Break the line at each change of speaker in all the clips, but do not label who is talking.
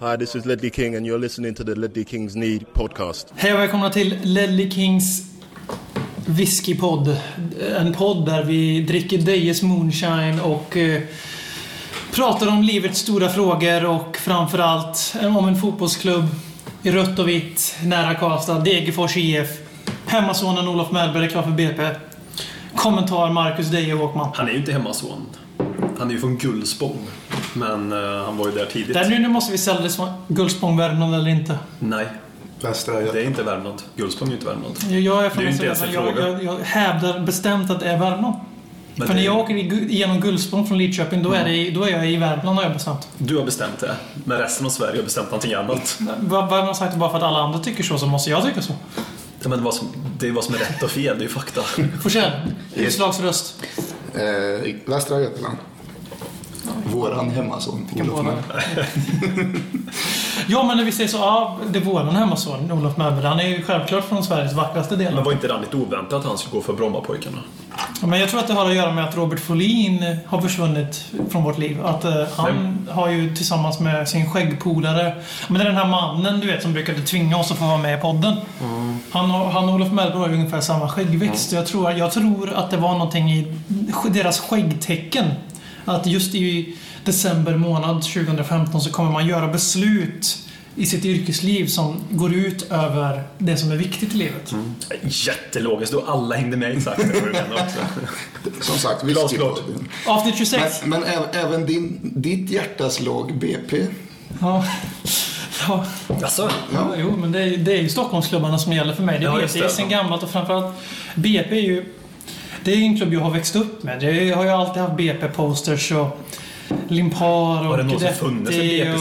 Hi, this is Ledley King and you're listening to the Ledley Kings Need podcast.
Hej och välkomna till Ledley Kings Whiskypodd. En podd där vi dricker Dejes moonshine och eh, pratar om livets stora frågor och framförallt eh, om en fotbollsklubb i rött och vitt nära Karlstad, Degerfors IF. Hemmasonen Olof Mellberg är klar för BP. Kommentar Marcus Deje Håkman.
Han är ju inte hemmason. Han är ju från Gullspång. Men eh, han var ju där tidigt.
Där nu, nu måste vi sälja det som Gullspång, Värmland eller inte.
Nej,
Västra
det är inte Värmland. Gullspång är ju inte Värmland.
Jag är
Det är
från
ju inte ens
Västra
en
jag,
fråga.
jag, jag hävdar bestämt att det är Värmland.
Men
För
det
när
är- Mm.
jag åker i Gu- genom Gullspång från Lidköping, då är, det, i- då är jag i Värmland har jag bestämt.
Du har bestämt det. Men resten av Sverige har bestämt någonting annat.
Vad vad har man sagt att bara för att alla andra tycker så, så måste jag tycka så.
Ja, men vad som, det är vad som är rätt och fel, det är ju fakta.
Forsell, utslagsröst.
eh, Västra Götaland. Våran hemmason. Olof
vara
Mm.
Mellberg.
Ja, men när vi säger så, ja, det är våran hemmason, Olof Mellberg. Han är ju självklart från Sveriges vackraste del.
Men var inte det lite oväntat att han skulle gå för Brommapojkarna?
Men jag tror att det har att göra med att Robert Folin har försvunnit från vårt liv. Att eh, han har ju tillsammans med sin skäggpolare, men det är den här mannen du vet som brukade tvinga oss att få vara med i podden. Han, och, han och Olof Mellberg har ju ungefär samma skäggväxt. Jag, tror, jag tror att det var någonting i sk- deras skäggtecken. Att just i december månad 2015 så kommer man göra beslut i sitt yrkesliv som går ut över det som är viktigt i livet.
Jättelogiskt, då alla hängde med exakt det du menar också.
Som sagt,
Glasklart.
whiskypodden.
Avsnitt 26.
Men, men ä- även din, ditt hjärtas lag BP.
Ja. ja.
Alltså,
Ja. Jo, men det är, det är ju Stockholmsklubbarna som gäller för mig. Det
Ja,
vet
just
jag
det.
sen gammalt och framförallt BP är ju... Det är ju en klubb jag har växt upp med. Jag har ju alltid haft BP-posters och Limpar och
var det någon som
Guidetti
funnits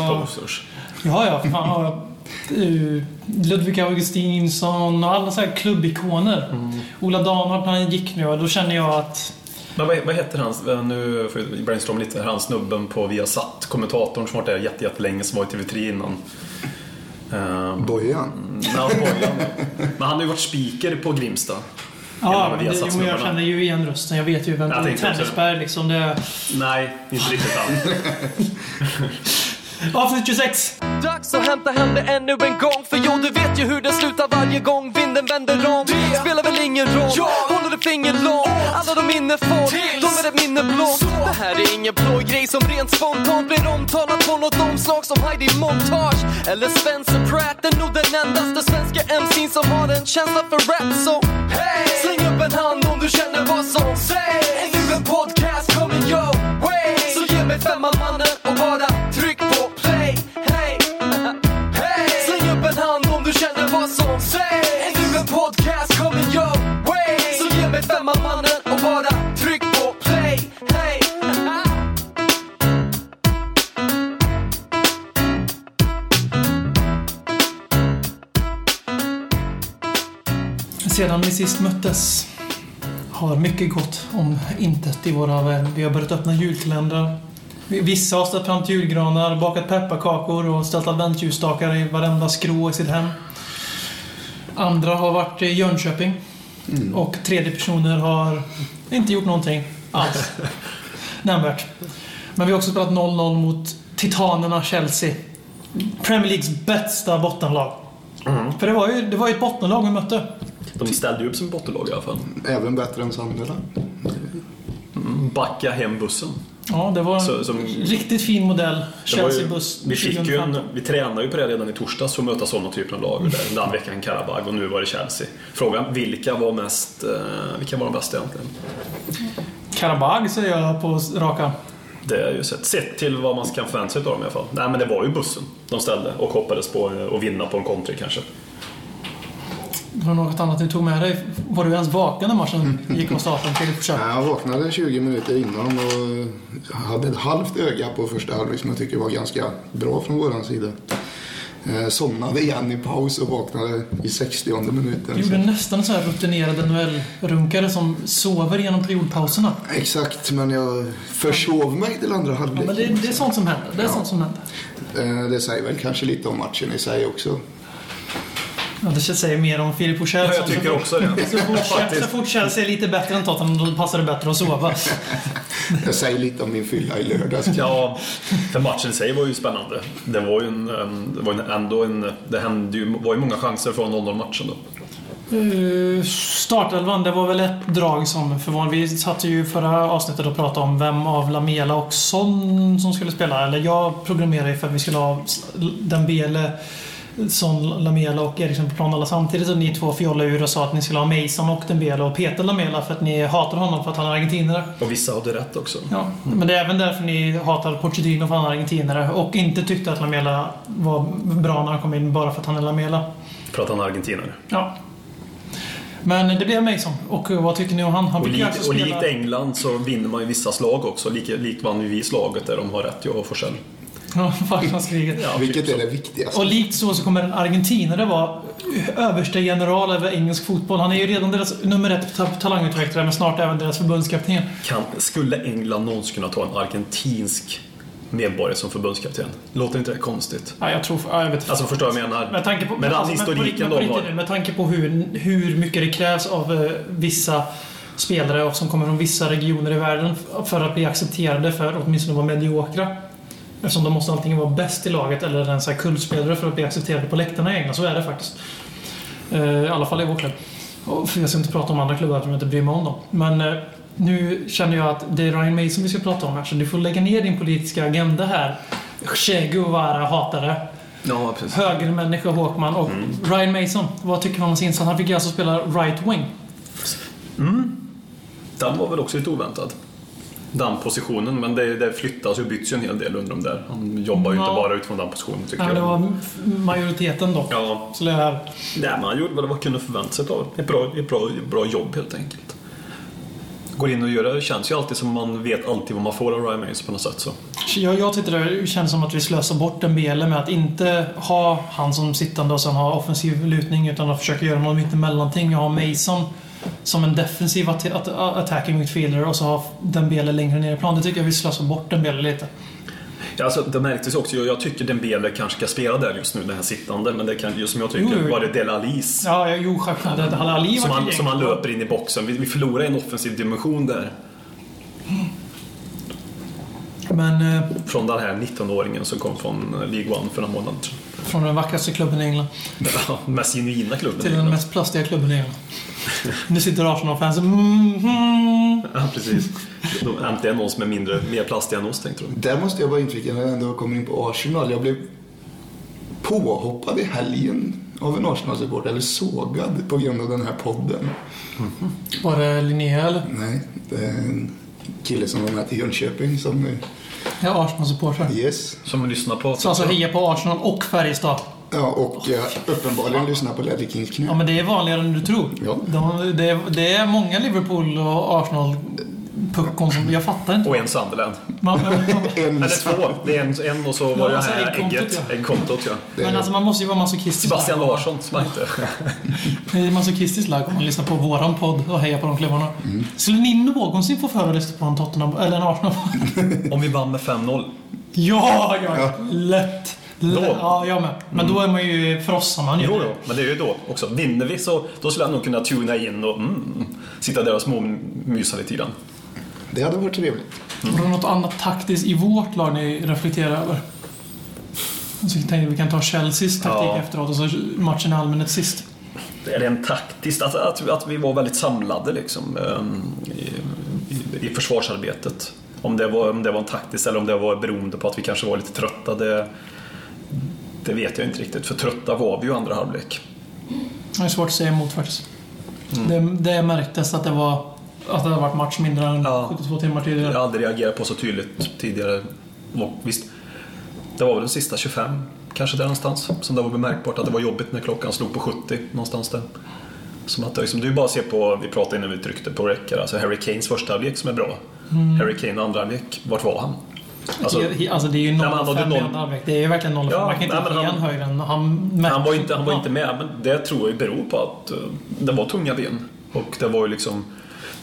en
och-
BP-sponsors?
Ja, ja. Fan, ja. Eh, Ludvig Augustinsson och alla så här klubbikoner.
Mm.
Ola Danhart, när han gick nu, och då känner jag att...
Men vad, vad heter hans, nu får jag brainstorma lite här, han snubben på Viasat, kommentatorn som varit där jätte, jättelänge, som var i TV3 innan. Ehm,
Bojan.
Nej, han skojar. Men han har ju varit speaker på Grimsta. Genom
Ja,
att vi
det,
har
jo,
satt
men jag
snubbarna.
känner ju igen rösten. Jag vet ju vem det
Jag
är.
tänkte också det.
Tennisberg liksom. Det är...
Nej, inte riktigt han.
Avsnitt 26!
Dags att hämta hem det ännu en gång För jo, du vet ju hur det slutar varje gång vinden vänder om Spelar väl ingen roll, håller ett finger långt Alla de minne får, de är ett minne blått Det här är ingen blå grej som rent spontant blir omtalat på något omslag som Heidi Montage eller Spencer Pratt är nog den endaste svenska MC'n som har en känsla för rap så hey! släng upp en hand om du känner vad som sägs Ännu en podcast kommer your way Så ge mig femman mannen och bara tryck på play hey! Hey! Släng upp en hand om du känner vad som sägs Ännu en podcast kommer your way Så ge mig femman mannen och bara tryck på play hey!
Sedan vi sist möttes har mycket gått om intet i våra värld. Vi har börjat öppna julkalendrar. Vi- Vissa har ställt fram till julgranar, bakat pepparkakor och ställt adventsljusstakar i varenda skrå i sitt hem. Andra har varit i Jönköping. Och tredje personer har inte gjort någonting alls. Nämnvärt. Men vi har också spelat 0-0 mot Titanerna Chelsea. Premier Leagues bästa bottenlag. För det var, ju, det var ju ett bottenlag vi mötte.
De ställde ju upp som bottenlag i alla fall.
Även bättre än Sandela.
Backa hem bussen.
Ja, det var en
Så- som-
riktigt fin modell.
Det var ju-
Chelsea-buss
vi, fick ju
2015.
en, vi tränade ju på det redan i torsdags för att möta sådana typer av lag. Där, den veckan Karabag och nu var det Chelsea. Frågan, vilka var mest, eh, vilka var de bästa egentligen?
Karabag säger jag på raka.
Det är ju sett, sett till vad man kan förvänta sig av dem i alla fall. Nej men det var ju bussen de ställde och hoppades på eh, att vinna på en kontring kanske.
Alltså, Det var något annat du tog med dig. Var du ens vaken när matchen
Mm.
gick av stapeln till försök?
Nej, Jag vaknade 20 minuter innan och hade ett halvt öga på första halvlek som jag tycker var ganska bra från våran sida. Eh, Somnade igen i paus och vaknade i 60
Du
minuten.
gjorde
Så-
nästan en sån här rutinerad NHL-runkare som sover genom periodpauserna.
Exakt, men jag försov mig till andra
Ja, men det,
halvlek.
det är sånt som händer. Det är sånt som händer.
Eh, Det säger väl kanske lite om matchen i sig också.
Ja, det säger mer om Filip Forsell.
Ja,
som
jag
så
tycker
fort-
också det.
Så fort, Chelsea- så
Faktiskt.
fort Chelsea är lite bättre än Tottenham, då passar det bättre att sova.
Jag säger lite om min fylla i lördags.
Ja, för matchen i sig var ju spännande. Det var ju en, en, det var en, ändå en... Det hände ju, var ju många chanser från 0-0-matchen då.
Eh, Startelvan, det var väl ett drag som förvånade. Vi satt ju i förra avsnittet och pratade om vem av Lamela och Son som skulle spela. Eller jag programmerade ju för att vi skulle ha Dembele, Son, Lamela och Eriksson på plan alla samtidigt. Och ni två fjollade ur och sa att ni skulle ha Mason och Dembele och Peter Lamela för att ni hatar honom för att han är argentinare.
Och vissa hade rätt också.
Ja, men det är även därför ni hatar Pochettino för han är argentinare och inte tyckte att Lamela var bra när han kom in bara för att han är Lamela.
För att han är argentinare.
Ja. Men det blev Mason. Och eh, vad tycker ni om han? Han
Och,
brukar ju
lik,
alltså
och
spela-
likt England så vinner man ju vissa slag också. Lik, likt vann ju vi slaget där de har rätt, jag och Forsell.
Ja, farsanskriget.
Ja,
Vilket
typ så.
är det viktigaste?
Och likt så så kommer en argentinare vara överste general över engelsk fotboll. Han är ju redan deras nummer ett ta- talangutvecklare men snart även deras förbundskapten.
Kan, skulle England någonsin kunna ta en argentinsk medborgare som förbundskapten? Låter inte det konstigt?
Ja, jag tror... Ja, jag vet
Alltså förstår jag vad jag menar?
Med tanke på,
Med den
alltså, men på riktigt-
historiken
men på
de
riktigt nu,
har.
med tanke på hur, hur mycket det krävs av eh, vissa spelare och som kommer från vissa regioner i världen f- för att bli accepterade för att åtminstone vara mediokra. Eftersom de måste antingen vara bäst i laget eller ens här kullspelare för att bli accepterade på läktarna i England. Så är det faktiskt. Eh, I alla fall i vår klubb. Och för jag ska inte prata om andra klubbar eftersom jag inte bryr mig om dem. Men eh, nu känner jag att det är Ryan Mason vi ska prata om här. Så du får lägga ner din politiska agenda här. Che Guevara hatare.
Ja, precis.
Högermänniska Håkman och
Mm.
Ryan Mason. Vad tycker man om hans insats? Han fick ju alltså spela right wing.
Den var väl också lite oväntad. Den positionen, men det, det flyttas ju och byts ju en hel del under de där. Han jobbar ju
Ja.
inte bara utifrån den positionen tycker
Ja, men
jag.
det var f- majoriteten dock.
Ja,
Så det är
nej, men han gjorde väl vad man kunde förvänta sig av. Ett bra, ett bra, ett bra jobb helt enkelt. Går in och gör det, känns ju alltid som man vet alltid vad man får av Ryan Mays på något sätt. Så.
jag, jag tyckte det kändes som att vi slösar bort den BL med att inte ha han som sittande och sen ha offensiv lutning utan att försöka göra något mitt emellanting och ha Mason som en defensiv att, att, attacking midfielder och så ha den BL längre ner i plan. Det tycker jag vi slösar bort den BL lite.
Ja, alltså, det märktes ju också, jag, jag tycker Dembele kanske ska spela där just nu, den här sittande. Men det kan, just som jag tycker,
Jo, jo.
var det Del Alis
Ja, ja, jo självklart. Det- Han Ali
som,
var
han,
ju-
som han löper in i boxen. Vi, vi förlorar en offensiv dimension där.
Men eh,
Från den här 19-åringen som kom från eh, League One för några månader sedan.
från den vackraste klubben i England.
Ja, mest genuina klubben.
Till den mest plastiga klubben i England. Nu sitter Arsenal-fans och mm
Ja, precis. De, äntligen någon som är mindre, mer plastig än oss, tänkte de.
Där måste jag bara inflika när jag ändå kommer in på Arsenal. Jag blev påhoppad i helgen av en Arsenal-supporter, eller sågad på grund av den här podden.
Var det Linnea eller?
Nej, det är en kille som var med till Jönköping som... eh,
Jag är Arsenal-supporter.
Yes.
Som lyssnar på...
Så alltså heja på Arsenal och Färjestad.
Ja, och eh, uppenbarligen lyssnar på Ledley Kings knä.
Ja men det är vanligare än du tror.
Ja.
De, det, är- det är många Liverpool och Arsenal-puckon som... Jag fattar inte.
Och en Sunderland.
Man, man, man,
En,
Eller två. Det är en, en och så var
Ja,
det
alltså,
här
äggkontot,
ägget.
ja.
Äggkontot, ja.
men alltså man måste ju vara masochistisk.
Sebastian Larsson smajte.
Det är masochistiskt lag om man lyssnar på våran podd och hejar på de klubbarna. Skulle ni någonsin få för att lyssna på en Tottenham eller en Arsenal?
Om vi vann med 5-0.
Ja, ja, ja. lätt.
Då? Mm.
lätt. Ja, jag med. Men då är man ju frossan man ju.
Jo, jo. Men det är ju då också. Vinner vi så då skulle jag nog kunna tuna in och mm, sitta där och småmysa lite grann.
Det hade varit trevligt.
Mm.
Har du något annat taktiskt i vårt lag ni reflekterar över? Så jag tänkte att vi kan ta Chelseas taktik
Ja.
efteråt och så matchen i allmänhet sist.
Det är rent taktiskt. Att, att, att vi var väldigt samlade liksom, ehm, i, i, i försvarsarbetet. Om det, var, om det var en taktiskt eller om det var beroende på att vi kanske var lite trötta, det, det vet jag inte riktigt. För trötta var vi ju i andra halvlek.
Det är svårt att säga emot faktiskt.
Mm.
Det, det märktes att det var att det hade varit match mindre än
Ja.
72 timmar
Jag
tidigare.
har aldrig reagerat på så tydligt tidigare. Och visst, det var väl de sista 25, kanske där någonstans, som det var bemärkbart att det var jobbigt när klockan slog på 70, någonstans där. Som att, det liksom, det är ju bara att se på, vi pratade innan vi tryckte på räcker, alltså Harry Kanes första halvlek som är bra. Harry Kane andra halvlek, vart var han? Alltså,
He- he- alltså det är ju
men
0,5
han hade
i
noll-
andra halvlek. Det är ju verkligen 0,5.
Ja,
Man kan inte
nej, men
ge
han-
han högre än han märkte.
han var, inte, han var inte med, men det tror jag ju beror på att eh, det var tunga ben. Och det var ju liksom,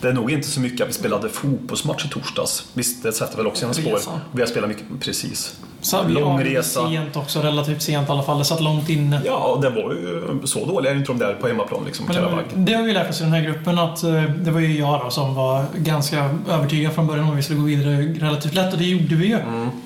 det är nog inte så mycket att vi spelade fotbollsmatch i torsdags. Visst, det sätter väl också sina spår.
Resan.
Vi har spelat mycket, precis.
Så vi
Lång
avgjorde
resa.
sent också, relativt sent i alla fall. Det satt långt inne.
Ja, den var ju så dålig. Är inte de där på hemmaplan liksom,
Men det, var,
Karabag?
det har vi lärt oss i den här gruppen att eh, det var ju jag då som var ganska övertygad från början om att vi skulle gå vidare relativt lätt och det gjorde vi ju.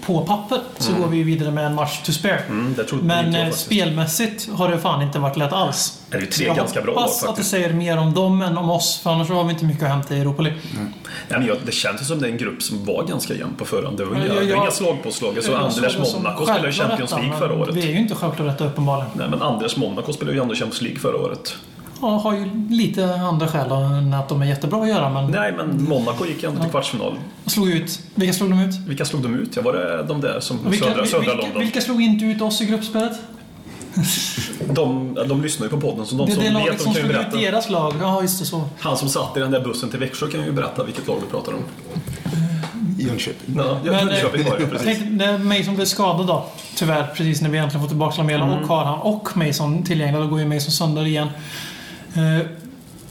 På papper så går vi ju vidare med en match to spare.
Mm, det trodde
Men
inte jag
eh,
faktiskt.
spelmässigt har det fan inte varit lätt alls.
Det är ju tre
Jag
ganska bra lag
hoppas att det
faktiskt.
säger mer om dem än om oss för annars har vi inte mycket att hämta i Europa League.
Mm, Nej, men jag, det känns ju som det är en grupp som var ganska jämn på förhand. Det var
Men
inga,
jag-
det var inga
jag-
slag på slag.
Det
Alltså,
är
Anders
sådana som
Monaco spelade ju
självklart
Champions
detta,
League förra
men
året.
Vi är ju inte självklart rätta uppenbarligen.
Nej, men Anders Monaco spelade ju ändå Champions League förra året.
Ja, har ju lite andra skäl än att de är jättebra att göra men
Nej, men Monaco gick ju ändå till kvartsfinal.
slog ut. Vilka slog de ut?
Vilka slog de ut? Ja, var det de där som
Vilka,
södra, södra
vilka,
London?
vilka slog inte ut oss i gruppspelet?
De, de lyssnar ju på podden, så de
Det är
som
det
vet
laget
de
som
kan ju
slog ut
berätta.
deras lag. Ja, just det så.
Han som satt i den där bussen till Växjö kan ju berätta vilket lag vi pratar om.
Jönköping.
Ja,
Men, eh,
Jönköping var det, precis.
Tänk, det är Mason blev skadad då. Tyvärr, precis när vi äntligen får tillbaka Lamela
Mm.
och Karhan och Mason tillgängliga. Då går ju Mason sönder igen. Eh,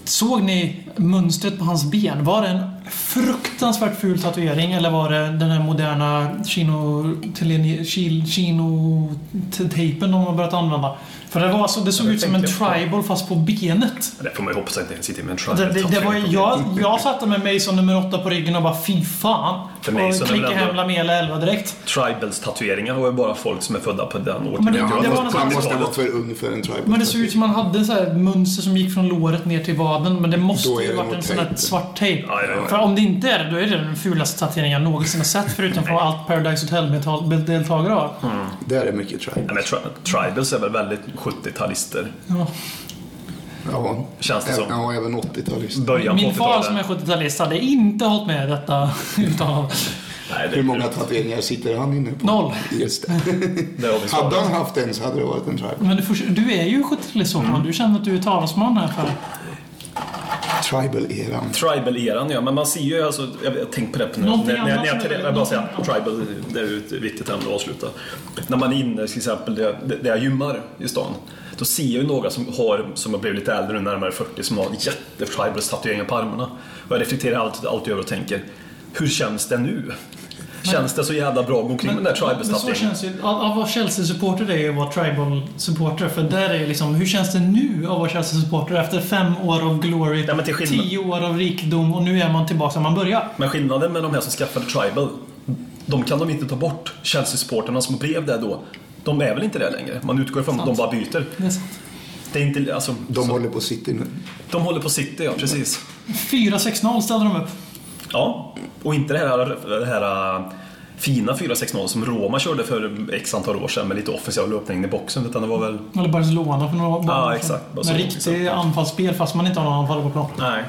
Såg ni mönstret på hans ben? Var det en fruktansvärt ful tatuering eller var det den här moderna chino... teleni- chil- chino-tejpen de har börjat använda? För det, var så, det såg
Ja, det
ut som en
tänkte jag på.
tribal fast på benet.
Det får man ju hoppas att det inte sitter med en
Det,
tribal
det, det var, ju- jag, jag satte med Mason nummer åtta på ryggen och bara fy fan.
För Mason är väl
och klickade
ändå-
hem Lamela 11 direkt.
Tribals tatueringar var ju bara folk som är födda på den
Men det-
årtiondet.
det var någon
Han
slags-
måste ha varit för ung för en tribal.
Men det såg ut som man hade så här mönster som gick från låret ner till vaden. Men det måste
Då är
ju
det
varit
nog
en sån här
tejp.
svart tejp.
Ja, ja, ja.
För om det inte är det, då är det den fulaste tatueringen jag någonsin har sett. Förutom från allt Paradise Hotel-deltagare har.
Mm.
Där är mycket tribal.
Nej, men tri- tribals är väl väldigt 70-talister?
Ja.
Ja.
Känns det
Ä-
som.
Ja, även 80-talist.
Början
Min
på
far
80-talet.
som är 70-talist hade inte hållit med detta uttalande.
Nej, det,
Hur många tatueringar sitter han inne på?
Noll.
Just det.
Där har vi
Hade
svaret.
han haft en så hade det varit en tribal.
Men du, får, du är ju 70-talist mm. Du känner att du är talesman här för.
Tribal-eran.
Tribal-eran ja, men man ser ju alltså, jag, jag tänkte på det nu.
Någonting
När, när, när
annat
jag,
som är-
jag, jag bara säga, tribal, det är ju ett viktigt ämne att avsluta. När man är inne, till exempel, där där jag gymmar i stan. Då ser jag ju några som har, som har blivit lite äldre nu, närmare 40, som har jättetribals tatueringar på armarna. Och jag reflekterar alltid, alltid över och tänker, hur känns det nu? Känns det så jävla bra att gå omkring med den där tribals
Men så
tatueringen?
känns ju, att, att vara Chelsea-supporter är ju att vara Tribal-supporter. För där är ju liksom, hur känns det nu att vara Chelsea-supporter efter fem år av glory,
Nej, men till skillnad-
tio år av rikedom och nu är man tillbaka där man började?
Men skillnaden med de här som skaffade Tribal, de kan de inte ta bort. Chelsea-supporterna som blev det då, de är väl inte det längre? Man utgår ifrån att de bara byter.
Det är sant.
Det är inte, alltså,
De håller på City nu.
de håller på City, ja precis.
4-6-0 ställde de upp.
Ja, och inte det här, det här äh, fina 4-6-0 som Roma körde för x antal år sedan med lite offensiv löpning i boxen, utan det var väl...
Eller Barcelona för några år
Ja,
sedan.
exakt. Bara så,
Med
exakt.
riktigt anfallsspel fast man inte har någon anfallare på plan.
Nej.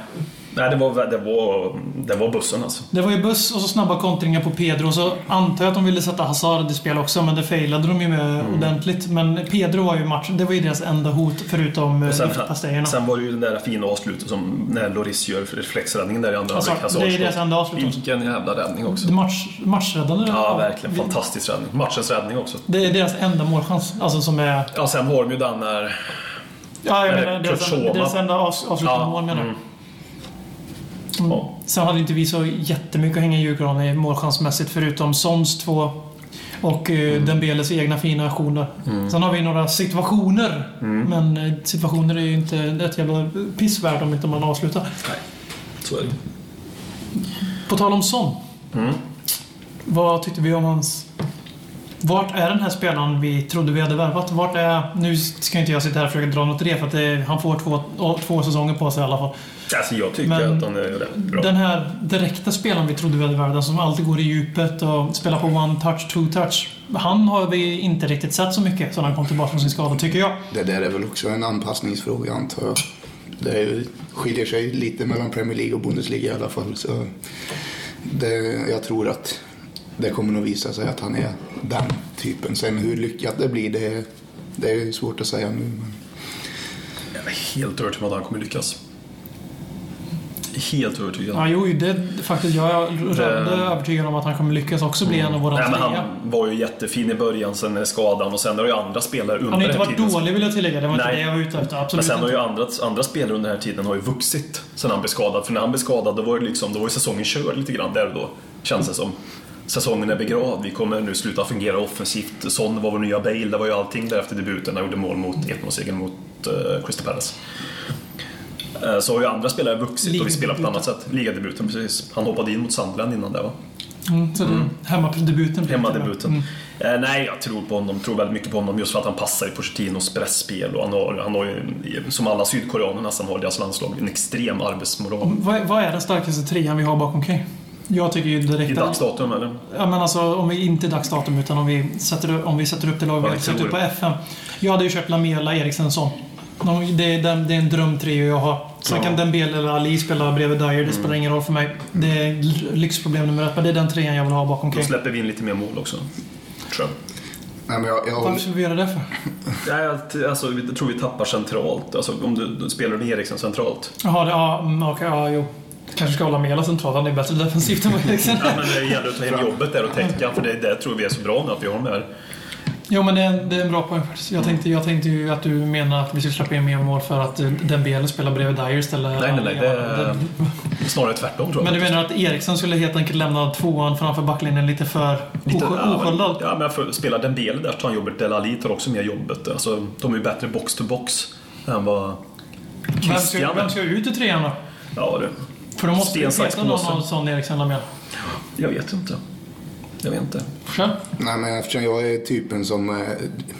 Nej, det var, det var, det var bussen alltså.
Det var ju buss och så snabba kontringar på Pedro. Så antar jag att de ville sätta Hazard i spel också, men det failade de ju med
Mm.
ordentligt. Men Pedro var ju matchen, det var ju deras enda hot förutom eh,
Och sen,
luftpastejerna.
sen var det ju den där fina avslutet som när Loris gör reflexräddningen där i andra
Hazard, Alltså, det är ju
Hazard-
deras enda avslut också. Mm.
Vilken jävla räddning också.
Det Match, matchräddande?
Ja, verkligen. Fantastisk räddning. Matchens räddning också.
Det är deras enda målchans. Alltså som är...
Ja, sen har de ju den när...
Ja, jag
Eller
menar deras,
Kurt Schoma.
deras enda avs- avslutande
Ja,
mål menar jag.
mm.
Mm.
Ja.
Sen hade inte vi så jättemycket att hänga i julgranen i målchansmässigt förutom Sons två och eh,
Mm.
Dembeles egna fina aktioner. Sen har vi några situationer.
Mm.
Men eh, situationer är ju inte ett jävla pissvärd om inte man avslutar.
Nej, så är det.
På tal om Son.
Mm.
Vad tyckte vi om hans... Vart är den här spelaren vi trodde vi hade värvat? Vart är... Nu ska inte jag sitta här och försöka dra något i det, för att det, han får två, två säsonger på sig i alla fall.
Alltså, jag tycker
Men
att han är rätt bra.
Den här direkta spelaren vi trodde vi hade värvat, den som alltid går i djupet och spelar på one-touch, two-touch. Han har vi inte riktigt sett så mycket sedan han kom tillbaka från sin skada, tycker jag.
Det där är väl också en anpassningsfråga antar jag. Det är ju- skiljer sig lite mellan Premier League och Bundesliga i alla fall. Så det, jag tror att det kommer nog visa sig att han är den typen. Sen hur lyckat det blir, det, det är ju svårt att säga nu. Men
Jag är helt övertygad om att han kommer lyckas. Helt övertygad.
Ja, jo, det är faktiskt. Jag är rörande
Det-
övertygad om att han kommer lyckas också bli en av våra
Nej, men
trea.
han var ju jättefin i början, sen är skadan och sen har ju andra spelare under
Han har ju inte
den här
varit
tiden.
dålig vill jag tillägga. Det var inte
Nej.
det jag var ute efter. Absolut
Men sen har
inte.
ju andra, andra spelare under den här tiden har ju vuxit sen han blev skadad. För när han blev skadad då var, det liksom, då var ju säsongen körd lite grann där och då, känns det som. säsongen är begravd. Vi kommer nu sluta fungera offensivt. Son var vår nya Bale, det var ju allting där efter debuten. Han gjorde mål mot 1-0-segern mot uh, Crystal Palace. Eh, Så har ju andra spelare vuxit och vi spelar på ett annat sätt. Ligadebuten, precis. Han hoppade in mot Sandland innan det va?
Mm, så mm. Hemmadebuten. blir
Hemmadebuten.
det. Mm.
Eh, nej, jag tror på honom. Tror väldigt mycket på honom just för att han passar i Pochettinos pressspel och han har, han har ju, som alla sydkoreaner nästan har i deras landslag, en extrem arbetsmoral.
Vad, vad är den starkaste trean vi har bakom Kane? Jag tycker ju direkt
I dagsdatum eller?
Ja, men alltså om vi inte dags datum utan om vi sätter, om vi sätter upp det lag vi
Vad
har satt
tror
upp på
du?
FM. Jag hade ju kört Lamela, Eriksen, Son. De- Det är, den- det är en drömtrio jag har. Sen kan Dembele eller Ali spela bredvid Dyer, det
Mm.
spelar ingen roll för mig. Det är l- lyxproblem nummer ett, men det är den trean jag vill ha bakom
Då
Kane.
släpper vi in lite mer mål också. Tror jag.
Nej, men jag, jag
Varför
håller,
skulle vi göra det för?
Nej, jag t- alltså, jag tror vi tappar centralt. Alltså, om du, du spelar med Eriksen centralt.
Jaha, det, ja, mm, okej, ja, jo. Kanske ska hålla Lamela centralt, han är bättre defensivt än vad Eriksen
Ja,
är.
men det gäller att ta hem jobbet där och täcka, för det, det tror vi är så bra nu att vi har dem där.
Jo, men det är, en- det är en bra poäng faktiskt. Jag tänkte, jag tänkte ju att du menar att vi skulle släppa in mer mål för att eh, Dembele spelar bredvid Dyer istället.
Nej, nej, nej. Det är snarare tvärtom tror jag.
Men du menar att Eriksson skulle helt enkelt lämna tvåan framför backlinjen lite för
Lite- ja, men-
osj- osköldad?
Ja, men jag får spela den delen där tar han jobbet. Delali tar också med jobbet. Alltså, de är ju bättre box to box än vad
Vem ska-
Christian
Vem
är.
ska ut i trean då?
Ja, du.
För då måste
Sten,
ju
sax,
peta någon
påse.
av sån Eriksen Lamel.
Jag vet inte. Jag vet inte.
Själv?
nej, men eftersom jag är typen som eh,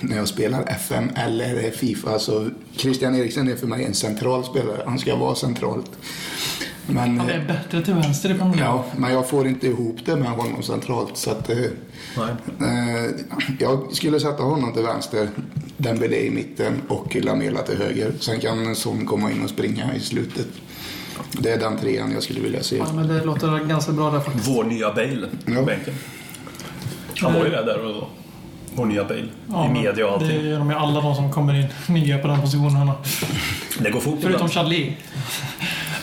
när jag spelar FM eller eh, Fifa så Christian Eriksen är för mig en central spelare. Han ska vara centralt. Men,
Han
eh,
är bättre till vänster i Premier League.
Ja, men jag får inte ihop det med honom centralt. Så att, eh,
Nej.
eh, jag skulle sätta honom till vänster, Dembélé i mitten och Lamela till höger. Sen kan Son komma in och springa i slutet. Det är den trean jag skulle vilja se.
Ja, men det låter ganska bra där faktiskt.
Vår nya Bale
Ja.
på bänken. Han var ju där och då. Vår nya Bale.
Ja,
I
men
media och allting.
Det
Det,
är de ju alla de som kommer in nya på den positionen. han har.
går fort
Förutom
ibland.
Chadli.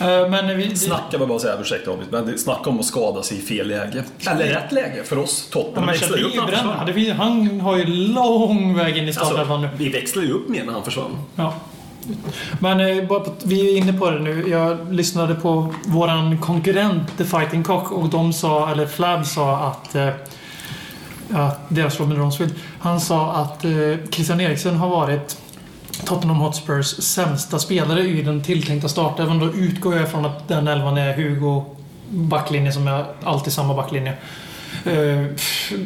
Eh, men vi...
Snacka vad jag bara säga, ursäkta David, men det- snacka om att skada sig i fel läge. Eller rätt läge för oss,
Ja,
toppen.
men
växlar ju
Chadli är
upp när han försvann.
bränd. Det- Han har ju lång väg in i startelvan nu.
Alltså, vi växlar ju upp mer när han försvann.
Ja. Men eh, bara på, vi är inne på det nu. Jag lyssnade på våran konkurrent The Fighting Cock och de sa, eller Flab sa att, eh, att deras Robin Ronsfield, han sa att eh, Christian Eriksen har varit Tottenham Hotspurs sämsta spelare i den tilltänkta startelvan. Då utgår jag från att den elvan är Hugo backlinje som är alltid samma backlinje. Uh,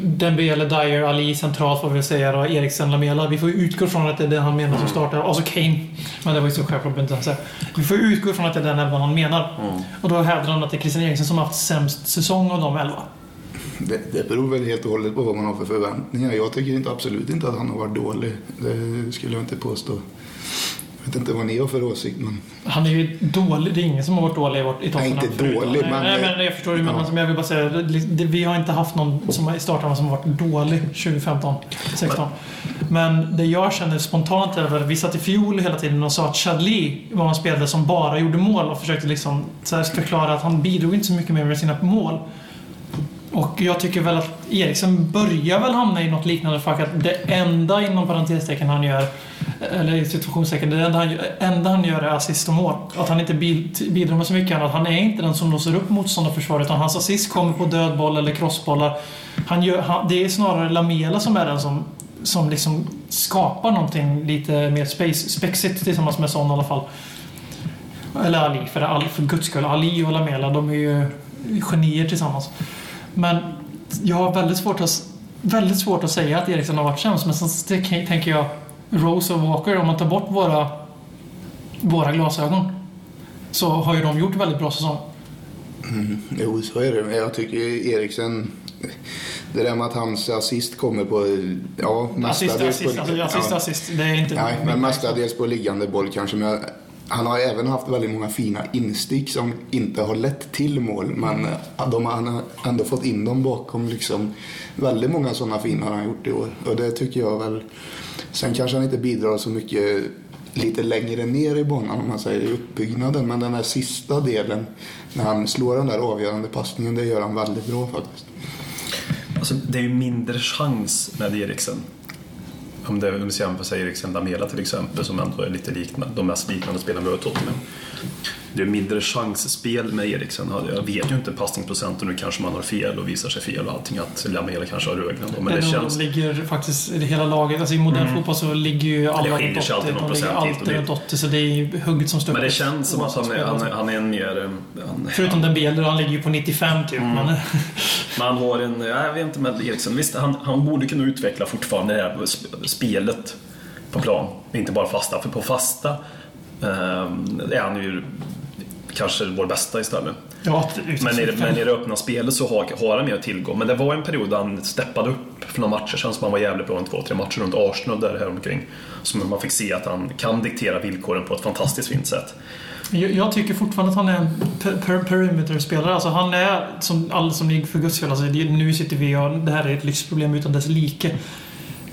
Dembele, Dyer, Ali centralt får vi väl säga då. Eriksen, Lamela. Vi får ju utgå från att det är det han menar som startar. Alltså Kane. Men det var ju så självklart inte ens här. Vi får utgå från att det är den elvan han menar. Och då hävdar han att det är Christian Eriksen som har haft sämst säsong av de elva.
Det, det beror väl helt och hållet på vad man har för förväntningar. Jag tycker inte, absolut inte att han har varit dålig. Det skulle jag inte påstå. Jag vet inte vad ni har för åsikt. Men...
Han är ju dålig. Det är ingen som har varit dålig i vårt i Tottenham.
inte
förutom-
dålig,
nej,
men-
Nej, men jag förstår ju. Men
Ja.
alltså, men jag vill bara säga. det- det- Vi har inte haft någon som har startat som har varit dålig 2015, 16. Men det jag känner spontant är väl. Vi satt i fjol hela tiden och sa att Chadli var en spelare som bara gjorde mål och försökte liksom så här förklara att han bidrog inte så mycket mer med sina mål. Och jag tycker väl att Eriksen börjar väl hamna i något liknande fack att det enda inom parentestecken han gör eller situationstecken, det enda han, gör- enda han gör är assist och mål. Att han inte bi- bidrar med så mycket annat. Han är inte den som låser upp motståndarförsvaret utan hans assist kommer på död boll eller crossbollar. Han gör, han, det är snarare Lamela som är den som, som liksom skapar någonting lite mer space, spexigt tillsammans med sån i alla fall. Eller Ali, för, Ali, för guds skull. Ali och Lamela, de är ju genier tillsammans. Men jag har väldigt svårt att, väldigt svårt att säga att Eriksson har varit sämst. Men sen t- tänker jag Rose och Walker, om man tar bort våra, våra glasögon så har ju de gjort väldigt bra säsong.
Jo, så är det. Men Jag tycker Eriksen... Det där med att hans assist kommer på... Ja,
Assist,
mestadels
assist, alltså, assist,
ja.
assist. Det är inte...
Nej, men mestadels på liggande boll kanske. Men jag, han har även haft väldigt många fina instick som inte har lett till mål. Men eh, de, har- han har ändå fått in dem bakom liksom. Väldigt många sådana fina har han gjort i år. Och det tycker jag väl. Sen kanske han inte bidrar så mycket lite längre ner i banan om man säger i uppbyggnaden. Men den här sista delen när han slår den där avgörande passningen, det gör han väldigt bra faktiskt.
Alltså, det är ju mindre chans med Eriksen. Om det om vi jämför sig Eriksen Damela till exempel som ändå är lite liknande, de mest liknande spelarna vi har i Tottenham. Det är mindre chansspel med Eriksen. Jag vet ju inte passningsprocent och nu kanske man har fel och visar sig fel och allting att Lamela kanske har ögonen då. Men det
Men
känns...
de ligger faktiskt, i det hela laget, alltså i modern fotboll så ligger ju
Det
alla
skiljer
runt 80.
sig alltid någon
De ligger
procent hit och
alltid
dit.
runt 80 så det är ju hugget som stucket.
Men det känns som att han är, han är, han är en mer... eh, Han,
Förutom den Bieler, han ligger ju på 95
Mm.
typ. Men,
Men han har en, jag vet inte, men Eriksen, visst han, han borde kunna utveckla fortfarande det här sp- spelet på plan. Inte bara fasta, för på fasta eh, är han ju kanske vår bästa istället.
ja,
Men i, det, men i det öppna spelet så har, har han mer tillgång. Men det var en period där han steppade upp för några matcher sen som han var jävligt bra i två, tre matcher runt Arsenal där häromkring. Som man fick se att han kan diktera villkoren på ett fantastiskt fint sätt.
Jag, jag tycker fortfarande att han är en per, per, perimeter-spelare. Alltså han är, som, all, som ni för guds skull, alltså, det, nu sitter vi och det här är ett lyxproblem utan dess like.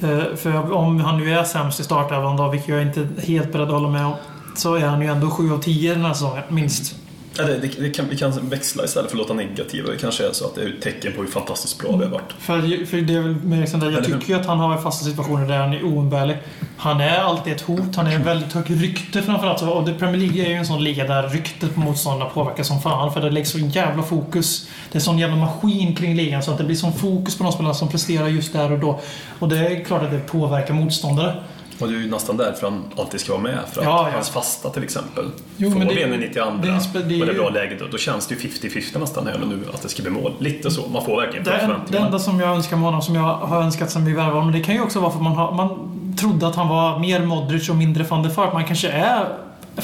Eh, för om han nu är sämst i startelvan då, vilket jag inte är helt beredd att hålla med om, så är han ju ändå 7 av 10 den här säsongen, minst.
Ja, det, det, det kan, vi kan växla istället för att låta negativa. Det kanske är så att det är ett tecken på hur fantastiskt bra vi har varit.
För, för det är väl med Eriksson där, jag
Eller hur?
tycker ju att han har fasta situationer där han är oumbärlig. Han är alltid ett hot, han är en väldigt högt rykte framförallt. Och det, Premier League är ju en sån liga där ryktet på motståndarna påverkar som fan. För det läggs så jävla fokus. Det är sån jävla maskin kring ligan så att det blir sån fokus på de spelarna som presterar just där och då. Och det är klart att det påverkar motståndare.
Och det är ju nästan därför han alltid ska vara med. För att
Ja, ja.
hans fasta till exempel.
Jo,
får
men
vi
det-
en i 92
det är en spe- det är
och det är
ju-
bra läge då, då känns det ju 50-50 nästan här och nu att det ska bli mål. Lite så. Man får verkligen
Det, en, det
förväntningar.
enda som jag önskar med honom, som jag har önskat sen vi värvade honom, det kan ju också vara för att man, har, man trodde att han var mer Modric och mindre van der Vaart. Man kanske är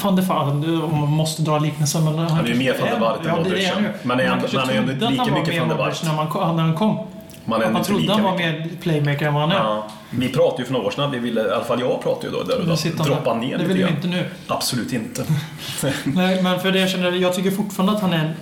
van der Vaart, om man måste dra liknelsen. Men
Han är ju mer van der Vaart än
ja, det
Modric,
är han ju.
ja. Men är han-
kanske
men han är ju
trodde
inte
att
lika
han var
mycket
mer
van der
Modric
Vaart.
när, man, ko- när han kom.
Man är
Att man
inte
trodde
lika
han var
mycket.
mer playmaker än vad han är.
Ja. Vi pratade ju för några år sedan, att vi ville, i alla fall jag pratade ju då, där och
Nu
då
sitter han
droppa
där.
ner
Det
lite
vill vi
grann.
inte nu.
Absolut inte.
Nej, men för det jag känner, jag tycker fortfarande att han är,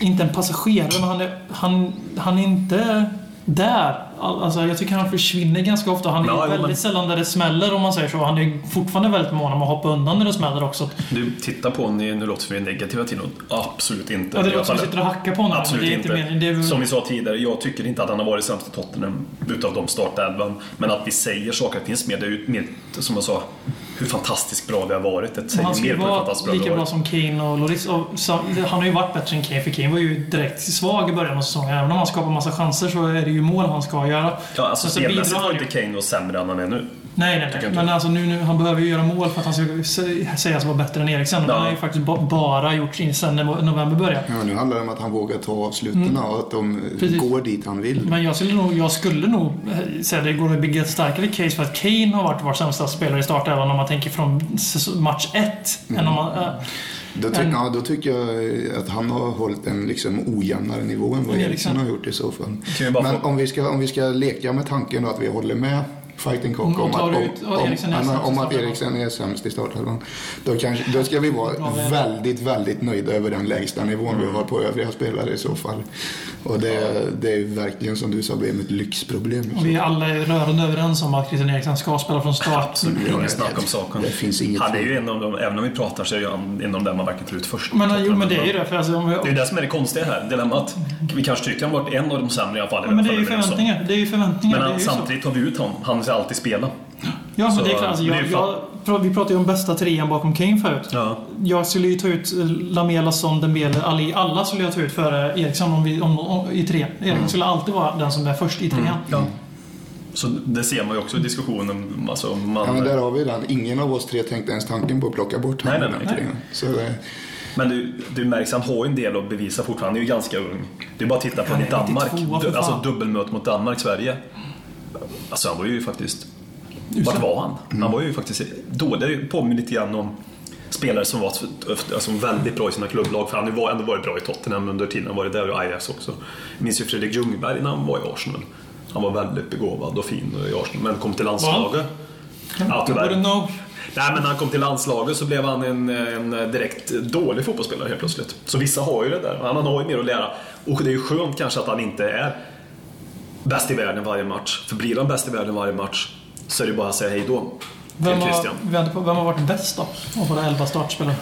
inte en passagerare, men han är, han, han är inte där. All- Alltså, jag tycker han försvinner ganska ofta. Han är
Ja, jo,
väldigt
men-
sällan där det smäller om man säger så. Han är fortfarande väldigt mån om att hoppa undan när det smäller också.
Du, titta på honom, nu låter vi negativa till honom. Absolut inte.
Ja, det
Jag
låter som att
faller-
vi sitter och hackar på honom. men
Absolut
det är
inte.
inte. meningen. Det är väl-
Som vi sa tidigare, jag tycker inte att han har varit sämst i Tottenham utav de startelvan. Men att vi säger saker att finns med, det är ju mer, som jag sa, hur fantastiskt bra vi har varit. Det säger
han
mer
skulle
på hur
vara
fantastiskt bra vi
lika
har
bra
varit.
som Kane och Loris. Och så, han har ju varit bättre än Kane, för Kane var ju direkt svag i början av säsongen. Även om han skapar massa chanser så är det ju mål han ska göra.
Ja, alltså
Men så bidrar
spelmässigt var
han
inte
ju-
Kane och sämre än han är nu.
Nej, nej,
Tycker
nej.
inte
Men alltså nu, nu, han behöver ju göra mål för att han ska sä- sägas vara bättre än Eriksen. Och
Ja. Mm.
Det har ju faktiskt ba- bara gjort in sen no- november började.
Ja, nu handlar det om att han vågar ta avsluten och att de eh,
Precis.
går dit han vill.
Men jag skulle nog, jag skulle nog eh, säga det går att bygga ett starkare case för att Kane har varit vår sämsta spelare i start även om man tänker från säs- match ett.
Mm.
Än om man, eh,
Då, ty
Men-
ja, då tycker jag att han har hållit en liksom ojämnare nivå än vad
Men
Eriksson
Eriksen-
har gjort i så fall.
Kan vi bara
Men
få-
om vi, ska, om vi ska leka med tanken då att vi håller med Fighting Cock
Mm, och
om, att-
tar
om,
ut- och
om,
Eriksen är
ja, men
sämst i
om att
startelvan.
Eriksen är sämst i startelvan. Då, kanske- då ska vi vara
Bra väl.
väldigt, väldigt nöjda över den lägsta nivån vi har på övriga spelare i så fall. Och det, det är verkligen som du sa, blev ett lyxproblem.
och vi är alla rörande överens om att Christian Eriksen ska spela från start.
Det är inget snack om saken.
Det finns inget
Han är ju en av dem, även om vi pratar så är ju han en av dem man verkligen tar ut först.
Men, eh, jo, men det är ju det. För alltså, om vi,
Mm. Det är ju det som är det konstiga här, dilemmat. Vi kanske tycker han varit en av de sämre i alla fall.
ja, men det är ju
Eller så.
förväntningar. Det är ju förväntningar.
Men
det är
han,
ju så.
samtidigt tar vi ut honom. Han ska alltid spela.
Ja, men
Så,
det är klart. Alltså,
men det
jag,
är ju
jag, pra- vi pratade ju om bästa trean bakom Kane förut.
Ja.
Jag skulle ju ta ut eh, Lamela, Son, Dembele, Ali. Alla skulle jag ta ut före Eriksson om vi, om, om, i trean. Eriksson skulle alltid vara den som är först i
Mm.
trean.
Så det ser man ju också i diskussionen. Alltså, man,
Ja, men där har vi den. Ingen av oss tre tänkte ens tanken på att plocka bort
Nej,
honom.
nej, nej.
egentligen. Så det,
Men du, du märks, han har ju en del att bevisa fortfarande. Han är ju ganska ung. Det är bara att titta på
Han
i
är
Danmark.
92, för
Du, alltså
fan.
dubbelmöte mot Danmark-Sverige. Alltså han var ju faktiskt... Vart var han?
Mm.
Han var ju faktiskt då. Det påminner lite grann om spelare som var alltså, väldigt bra i sina klubblag. För han har ju ändå varit bra i Tottenham under tiden han varit där och i Ajax också. Jag minns ju Fredrik Ljungberg när han var i Arsenal. Han var väldigt begåvad och fin i Arsenal. Men kom till landslaget. Ja,
Både
tyvärr.
no.
Nej, men när han kom till landslaget så blev han en, en direkt dålig fotbollsspelare helt plötsligt. Så vissa har ju det där. Han har ju mer att lära. Och det är ju skönt kanske att han inte är bäst i världen varje match. För blir han bäst i världen varje match så är det bara att säga hej då.
Vem
Till
har,
Christian.
vi vänder på, vem har varit bäst då? Av våra elva startspelare.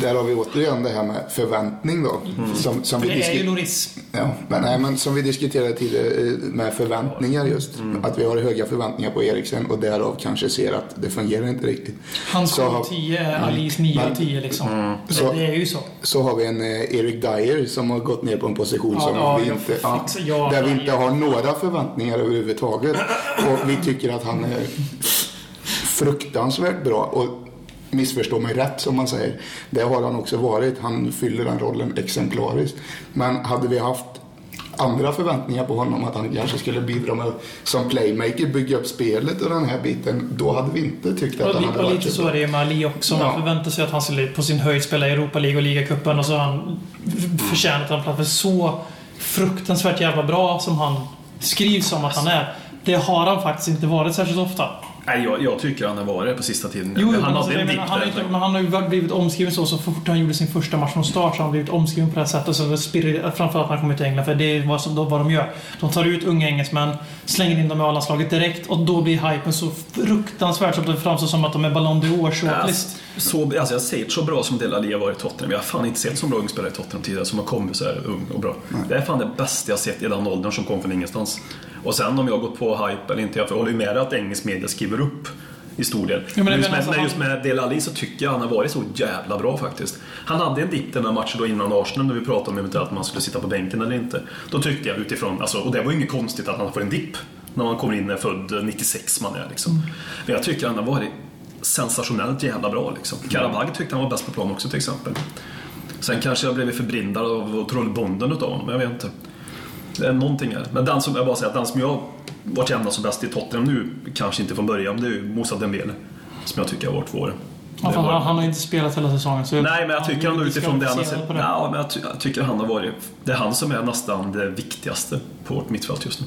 Där har vi återigen det här med förväntning då. Som, som vi
Mm. Det är ju
diskuterar.
Loris.
Ja, men, nej, men som vi diskuterade tidigare eh, med förväntningar just.
Mm.
Att vi har höga förväntningar på Eriksen och därav kanske ser att det fungerar inte riktigt.
Hans
Så Mm.
7
har- Mm.
av 10 är Alis 9 av
Men-
10 liksom.
Så-
Det är ju så.
Så har vi en eh, Eric Dyer som har gått ner på en position
Ja,
som
ja,
vi
jag
inte,
fixar- ja,
där vi
ja,
inte
ja.
har några förväntningar överhuvudtaget. Och vi tycker att han är fruktansvärt bra. Och missförstå mig rätt som man säger. Det har han också varit. Han fyller den rollen exemplariskt. Men hade vi haft andra förväntningar på honom att han kanske skulle bidra med som playmaker, bygga upp spelet och den här biten. Då hade vi inte tyckt att
Och,
han
li-
hade
och
varit
typ
lite
så
så är det ju med Ali också. Man
Ja.
förväntar sig att han skulle på sin höjd spela i Europa League och ligacupen och så har han f- förtjänat en plats. För så fruktansvärt jävla bra som han skrivs om att han är. Det har han faktiskt inte varit särskilt ofta.
Nej, jag, jag tycker han har varit det på sista tiden.
Jo,
han
men
hade
alltså, jag
en
menar,
dipp
han, är
där.
inte, men han har ju blivit omskriven så, så fort han gjorde sin första match från start så har han blivit omskriven på det här sättet. Så det spirrar, framförallt när han kommer till England, för det är vad, som, då- vad de gör. De tar ut unga engelsmän, slänger in dem i A-landslaget direkt och då blir hypen så fruktansvärt så att det framstår som att de är Ballon d'Or shortlist.
Så, alltså jag säger så bra som Del Ali har varit i Tottenham. Jag har fan inte sett så bra ung spelare i Tottenham tidigare som har kommit så här ung och bra. Det är fan det bästa jag sett i den åldern som kom från ingenstans. Och sen om jag har gått på hype eller inte, jag håller ju med dig att engelsk media skriver upp i stor del.
men
men,
jag
just,
menar
med,
så
men
han-
just med Del Ali så tycker jag han har varit så jävla bra faktiskt. Han hade en dipp den här matchen då innan Arsenal när vi pratade om eventuellt om han skulle sitta på bänken eller inte. Då tyckte jag utifrån, alltså, och det var ju inget konstigt att han får en dipp när man kommer in när född 96 man är liksom. Men jag tycker han har varit sensationellt jävla bra liksom.
Mm.
Karabag tyckte han var bäst på plan också till exempel. Sen kanske jag blev förblindad av trollbonden utav honom, jag vet inte. Det är någonting här. Men den som, jag bara säger att den som jag varit jämnast som bäst i Tottenham nu, kanske inte från början, men det är ju Moussa Dembele. Som jag tycker har varit vår.
Ja,
Det
fan,
var-
han, han har inte spelat hela säsongen. Så
Nej, men jag tycker ändå
Vi ska
utifrån det han har
fokusera
sett.
på det.
Ja, men jag, ty- jag tycker han har varit... Det är han som är nästan det viktigaste på vårt mittfält just nu.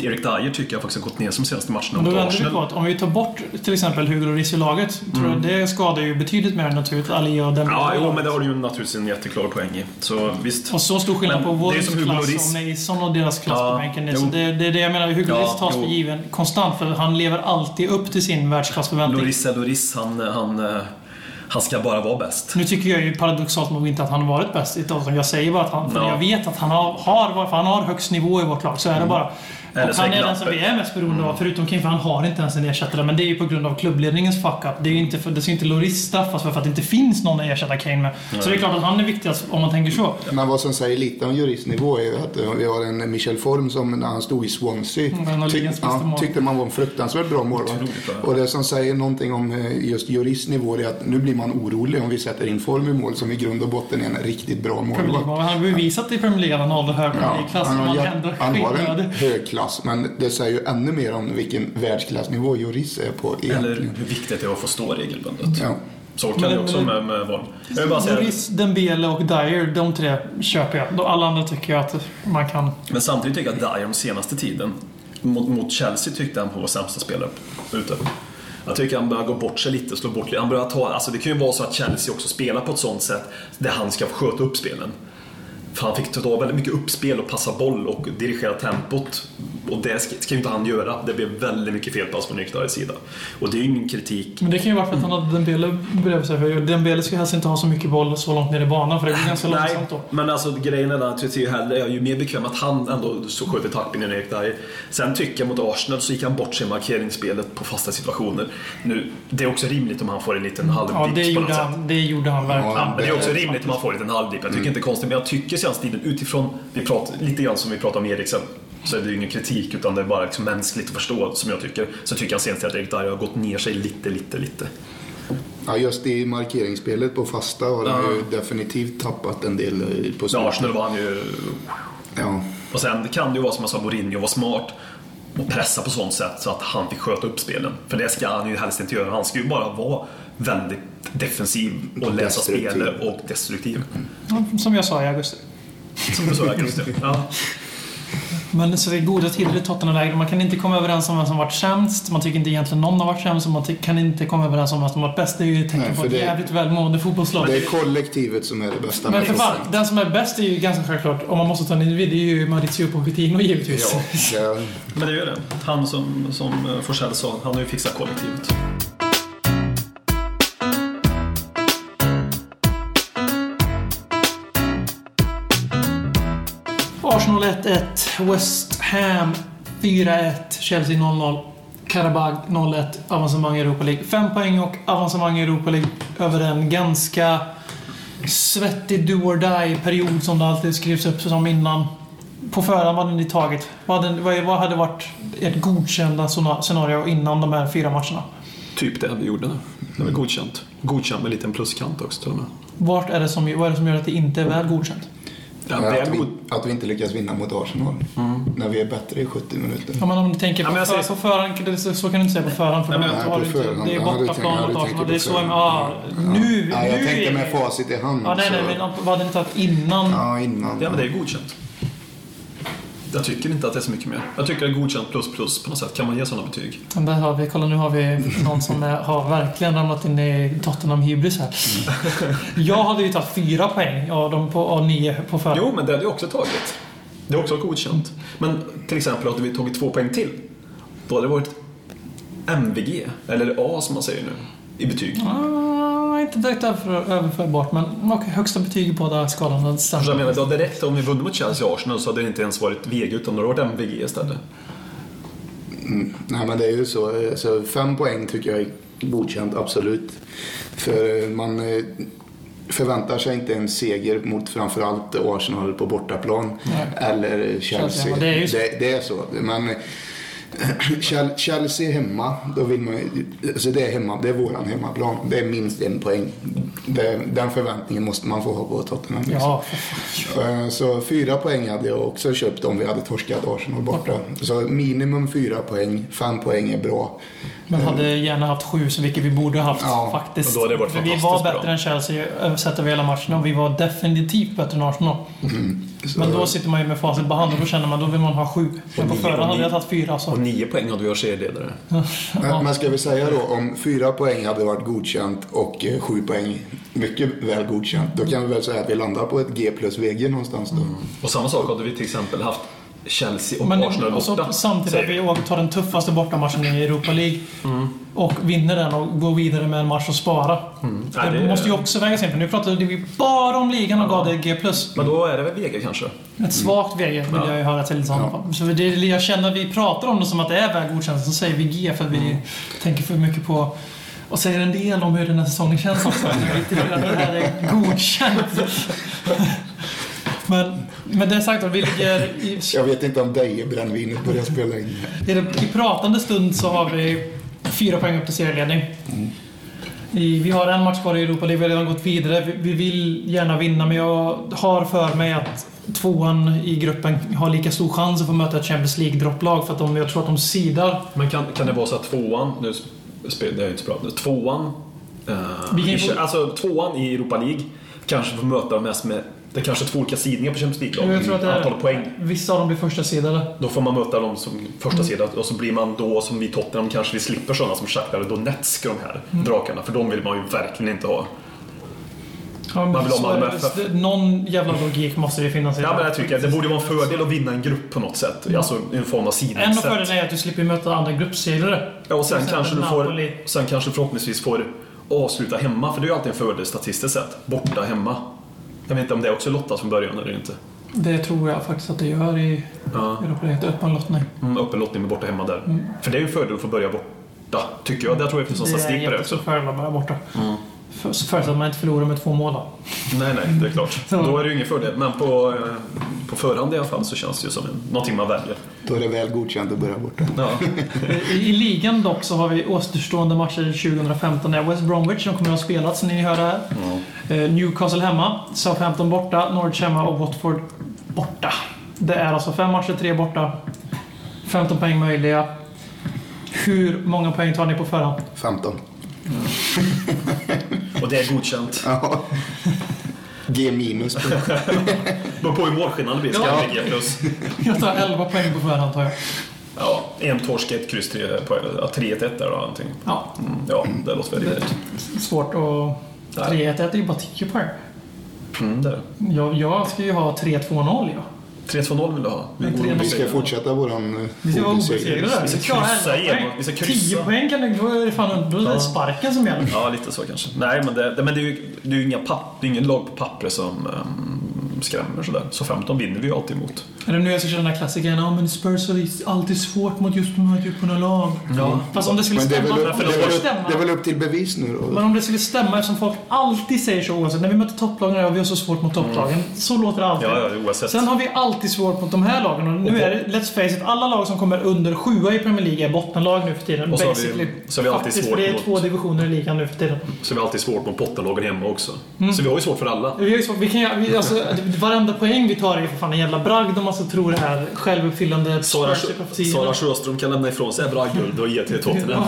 Erik Dyer tycker jag faktiskt har gått ner som senaste matcherna
Då
mot
vänder vi på
Arsenal.
att om vi tar bort till exempel Hugo Lloris i laget, tror jag det skadar ju betydligt mer än naturligt Ali och Dembélé.
Mm. Ja, jo, men det har du ju naturligtvis en jätteklar poäng i. Så visst.
Och så stor skillnad
Men
på
det är
vår
som Hugo
klass
Lloris.
och Mason och deras klass
Ja,
på bänken. Det,
jo.
det, det är det jag menar. Hugo
Ja,
Lloris tas
jo.
för given konstant för han lever alltid upp till sin världsklassförväntning.
Loris är Loris, han, han, eh, han ska bara vara bäst.
Nu tycker jag ju paradoxalt nog inte att han har varit bäst i Tottenham. Jag säger bara att han, för
Ja. Mm.
jag vet att han har, har, för han har högst nivå i vårt lag. Så är det bara.
Eller Mm.
Och
så
han
är
är den som vi
Knappe.
är mest beroende av, förutom King, för han har inte ens en ersättare. Men det är ju på grund av klubbledningens fuck-up. Det, är ju inte för- det ska ju inte Loris straffas för, för att det inte finns någon att ersätta Kane med. Så det är klart att han är viktigast om man tänker så.
Men vad som säger lite om juristnivå är ju att eh, vi har en Michel Form som när han stod i Swansea
Mm, en av
tyck-
ligans bästa
ja,
mål.
tyckte man var en fruktansvärt bra målvakt.
Otroligt bra.
Och det som säger någonting om eh, just juristnivå är att nu blir man orolig om vi sätter in Form i mål som i grund och botten är en riktigt bra
Premier League.
målvakt.
Han har bevisat i Premier League att han håller hög Premier
Ja,
League-klass.
han,
men
har,
han,
jä-
ändå
han har en
skillnad.
hög klass men det säger ju ännu mer om vilken världsklasnivå Juris är på
Eller
egentligen.
hur viktigt det är att få stå regelbundet.
Ja.
Så kan
Men-
jag också
men-
med, med val. Jag vill bara säga,
Lloris, Dembele och Dyer, de tre köper jag. De- Alla andra tycker jag att man kan...
men samtidigt tycker jag att Dyer den senaste tiden, mot, mot Chelsea tyckte han på vår sämsta spelare ute. Jag tycker han börjar gå bort sig lite, slå bort lite. Han börjar ta, alltså det kan ju vara så att Chelsea också spelar på ett sånt sätt där han ska få sköta upp spelen. För han fick ta väldigt mycket uppspel och passa boll och dirigera tempot. Och det ska, ska ju inte han göra. Det blev väldigt mycket felpass från Erik Dyers sida. Och det är ju ingen kritik
Men det kan ju vara för att han hade Dembele bredvid sig. För Dembele ska helst inte ha så mycket boll så långt ner i banan för det blir ganska långsamt då.
men alltså grejen är att jag är ju hellre- jag är ju mer bekväm att han ändå så sköter taktpinnen Erik Dyer. Sen tycker jag mot Arsenal så gick han bort sig i markeringsspelet på fasta situationer. Nu, det är också rimligt om han får en liten
Mm. Ja, det
halvdipp på något
gjorde
sätt.
han, det gjorde han verkligen.
Ja, men det är också rimligt om man får en liten halvdipp. Jag tycker inte det är konstigt, men jag tycker senaste tiden utifrån, vi pratar, lite grann som vi pratade om Eriksen, så är det ju ingen kritik utan det är bara liksom mänskligt att förstå som jag tycker. Så tycker jag senast att Erik Dyer har gått ner sig lite, lite, lite.
Ja, just i markeringsspelet på fasta har han ju definitivt tappat en del eh, på
I
slutet.
Arsenal var han ju
Ja.
Och sen kan det ju vara som jag sa, Mourinho var smart och pressa på sånt sätt så att han fick sköta upp spelen. För det ska han ju helst inte göra. Han ska ju bara vara väldigt defensiv och läsa
Destruktiv.
spelet och destruktiv.
Ja, Som jag sa i augusti.
Som du sa, Augusti. Ja.
Men så är goda tider i Tottenham-lägret. Man kan inte komma överens om vem som varit sämst. Man tycker inte egentligen någon har varit sämst. och Man ty- kan inte komma överens om vem som varit bäst. Det är ju ett tecken
Nej,
på
för
ett
det-
jävligt välmående fotbollslag.
Det är kollektivet som är det bästa
Men
med
för fan,
fotbollen.
den som är bäst är ju ganska självklart, om man måste ta en individ, det är ju Maurizio Pochettino givetvis.
Ja, det-
Men det är ju det. Han som, som Forsell sa, han har ju fixat kollektivet.
Arsenal 1-1. West Ham 4-1. Chelsea 0-0. Karabag 0-1. Avancemang i Europa League. Fem poäng och avancemang i Europa League över en ganska svettig do or die-period som det alltid skrivs upp som innan. På förhand, vad hade ni tagit? Vad hade, vad- vad hade varit ert godkända sona- scenario innan de här fyra matcherna?
Typ det vi gjorde nu. Det var godkänt. Godkänt med en liten pluskant också till och med.
Vart är det som, vad är det som gör att det inte är väl godkänt?
Ja, det
Att
är
vi,
god... Mm.
att vi inte lyckas vinna mot Arsenal. När vi är bättre i 70 minuter.
Ja, men om du tänker
Ja,
på,
men jag
för,
säger-
på förhand, det- så, så kan du inte säga på förhand. För
Nej, men-
då
Nej,
har
på
du inte-
förhand.
Det är
Ja, du tänker-
bortaplan
ja, du
mot
tänker
Arsenal.
på
Det är så,
förhand.
ja, nu,
Ja, jag
nu är
tänkte med
det-
facit i hand.
Ja, nej, nej,
så-
men vad hade ni tagit innan?
Ja, innan.
ja, men det är godkänt. Jag tycker inte att det är så mycket mer. Jag tycker det är godkänt plus plus på något sätt. Kan man ge sådana betyg?
Men Där har vi, kolla nu har vi någon som är, har verkligen ramlat in i Tottenham hybris här.
Mm.
Jag hade ju tagit fyra poäng av dem på, av nio på förhand.
Jo, men det hade jag också tagit. Det är också godkänt. Men till exempel hade vi tagit två poäng till. Då hade det varit MVG, eller A som man säger nu, i betyg.
Ah, inte direkt överför, överförbart, men okej, högsta betyg i båda skalan. det
Förstår
stämmer.
du vad Jag menar, då direkt om vi vunnit mot Chelsea och Arsenal så hade det inte ens varit VG utan då hade det varit MVG istället.
Nej, men det är ju så. så. Fem poäng tycker jag är godkänt, absolut. För man eh, förväntar sig inte en seger mot framförallt Arsenal på bortaplan eller
Chelsea,
Chelsea.
ja, det är ju så.
det, det är så. Men eh, Chel- Chelsea hemma, då vill man ju- alltså det är hemma, det är våran hemmaplan. Det är minst en poäng. Det, den förväntningen måste man få ha på Tottenham. liksom.
Ja, för fan.
Eh, Så fyra poäng hade jag också köpt om vi hade torskat Arsenal borta. Så minimum fyra poäng, fem poäng är bra.
Men hade gärna haft sju, så vilket vi borde ha haft
Ja,
faktiskt.
och då hade det varit
För vi var
fantastiskt
bättre
bra.
än Chelsea sett över hela matchen och vi var definitivt bättre än Arsenal.
Mm.
Så,
Men då sitter man ju med facit på hand och då känner man då vill man ha sju. Men på
nio,
förhand
och
hade
nio.
jag tagit fyra. alltså.
Och
Så.
nio poäng hade vi varit serieledare.
Mm.
men, men ska vi säga då om fyra poäng hade varit godkänt och eh, sju poäng mycket väl godkänt. Då kan vi väl säga att vi landar på ett G plus VG någonstans
Mm.
då.
Och samma sak hade vi till exempel haft Chelsea och
Men
Arsenal
och så,
borta.
samtidigt att
säger vi.
vi åker- tar den tuffaste bortamatchen i Europa League och vinner den och går vidare med en match och spara.
Nej,
det,
det-
måste ju också vägas in, för nu pratade vi bara om ligan och gav det G+.
Men då är det väl VG kanske?
Ett svagt VG vill jag ju höra till. i sådana fall. Så det, jag känner att vi pratar om det som att det är väl godkänt, så säger vi G för att vi tänker för mycket på och säger en del om hur den här säsongen känns också. Jag är inte redan det här är godkänt. Men med det sagt, då, vi ligger i,
Jag vet inte om Deje-brännvinet börjar spela in.
i, det- i pratande stund så har vi fyra poäng upp till serieledning. I, vi har en match kvar i Europa League, vi har redan gått vidare. Vi, vi vill gärna vinna, men jag har för mig att tvåan i gruppen har lika stor chans att få möta ett Champions League-dropplag för att de, jag tror att de sidar.
Men kan, kan det vara så att tvåan, nu spelar det är ju inte så bra, tvåan,
Vi
eh,
kan ju
i,
få-
alltså tvåan i Europa League kanske får möta de mest med, det är kanske två olika sidningar på Champions
Jo, jag tror att det
League-lag,
är-
antal poäng.
Vissa av dem blir första sidade.
Då får man möta dem som första
Mm.
sida och så blir man då som vi i Tottenham kanske vi slipper sådana som Shakhtar och Donetsk de här
Mm.
drakarna för de vill man ju verkligen inte ha.
Ja, men
Man vill ha
så
Malmö
är det-
FF.
det- Någon jävla logik måste det finnas i
Ja,
det.
men jag tycker att det borde vara en fördel att vinna en grupp på något sätt.
Mm.
Alltså en form av
En av
sidningssätt.
fördelarna är att du slipper möta andra gruppsegrare.
Ja, och sen
Till
kanske du
exempel
får,
Napoli.
sen kanske förhoppningsvis får avsluta hemma för det är ju alltid en fördel statistiskt sett. Borta hemma. Jag vet inte om det också lottas från början eller inte.
Det tror jag faktiskt att det gör i
Ja.
Europa League. Öppen lottning.
Mm, öppen lottning med borta hemma där. För det är ju en fördel att få börja borta, tycker jag. Där tror jag det finns någon statistik på det också.
fördel att vara borta. För- så Förutsatt att man inte förlorar med två mål då.
Nej, nej, det är klart. Då är det ju ingen fördel. Men på, eh, på förhand i alla fall så känns det ju som en, någonting man väljer.
Då är det väl godkänt att börja borta.
Ja.
I, I ligan dock så har vi återstående matcher 2015. Det är West Bromwich som kommer att ha spelat som ni hör här.
Mm.
Eh, Newcastle hemma, Southampton borta, Norwich hemma och Watford borta. Det är alltså fem matcher, tre borta. 15 poäng möjliga. Hur många poäng tar ni på förhand?
15.
Och det är godkänt.
Ja. G minus.
Beror på hur målskillnaden blir. Ska
Ja.
det ligga plus?
Jag tar 11 poäng på förhand tar jag.
Ja, en torsk, ett kryss, tre poäng. Ja, 3-1 där då, någonting.
Ja,
Mm, ja, det låter väl rimligt.
svårt att...
Nej.
3-1 är ju bara 10 poäng.
Mm, där.
Jag, jag ska ju ha 3-2-0 ja.
3-2-0 vill du ha? Vi,
Men
går
3-0.
Vi ska fortsätta våran eh,
Vi ska vara
obesegrade.
obesegrade.
Vi ska
ha
kryssa
11
igen.
poäng.
Vi ska
10
kryssa.
poäng kan du... Då är det fan då är det sparken som gäller.
Ja, lite så kanske. Nej, men det, det, men det är ju, det är ju inga papp, det är ingen lag på pappret som ehm, skrämmer sådär. Så 15 vinner vi ju alltid mot.
Är det nu jag ska köra den där klassikern? Ja, men Spurs har alltid svårt mot just de här typen av lag.
Ja.
Fast om det skulle
Men det är, väl
stämma...
upp,
för
det,
det
är väl
skulle
upp, det är
stämma.
väl upp till bevis nu då.
Men om det skulle stämma eftersom folk alltid säger så oavsett. När vi möter topplagen ja, vi har så svårt mot topplagen. Så låter det alltid.
Mm. Ja, ja, det är oavsett.
Sen har vi alltid svårt mot de här lagen. Och nu är det, let's face it, alla lag som kommer under sjua i Premier League är bottenlag nu för tiden.
Och så har vi-
Basically.
så har vi alltid
Faktiskt,
svårt
för det är
mot-
två divisioner i ligan nu för tiden.
Så vi har alltid svårt mot bottenlagen hemma också. Så vi har ju svårt för alla.
Vi har ju svårt, vi kan, ju- vi, alltså, varenda poäng vi tar är ju för fan en jävla bragd om man ska tro det här självuppfyllande
Sara, Sara
profetiorna.
Sjöström kan lämna ifrån sig bra guld och ge till Tottenham.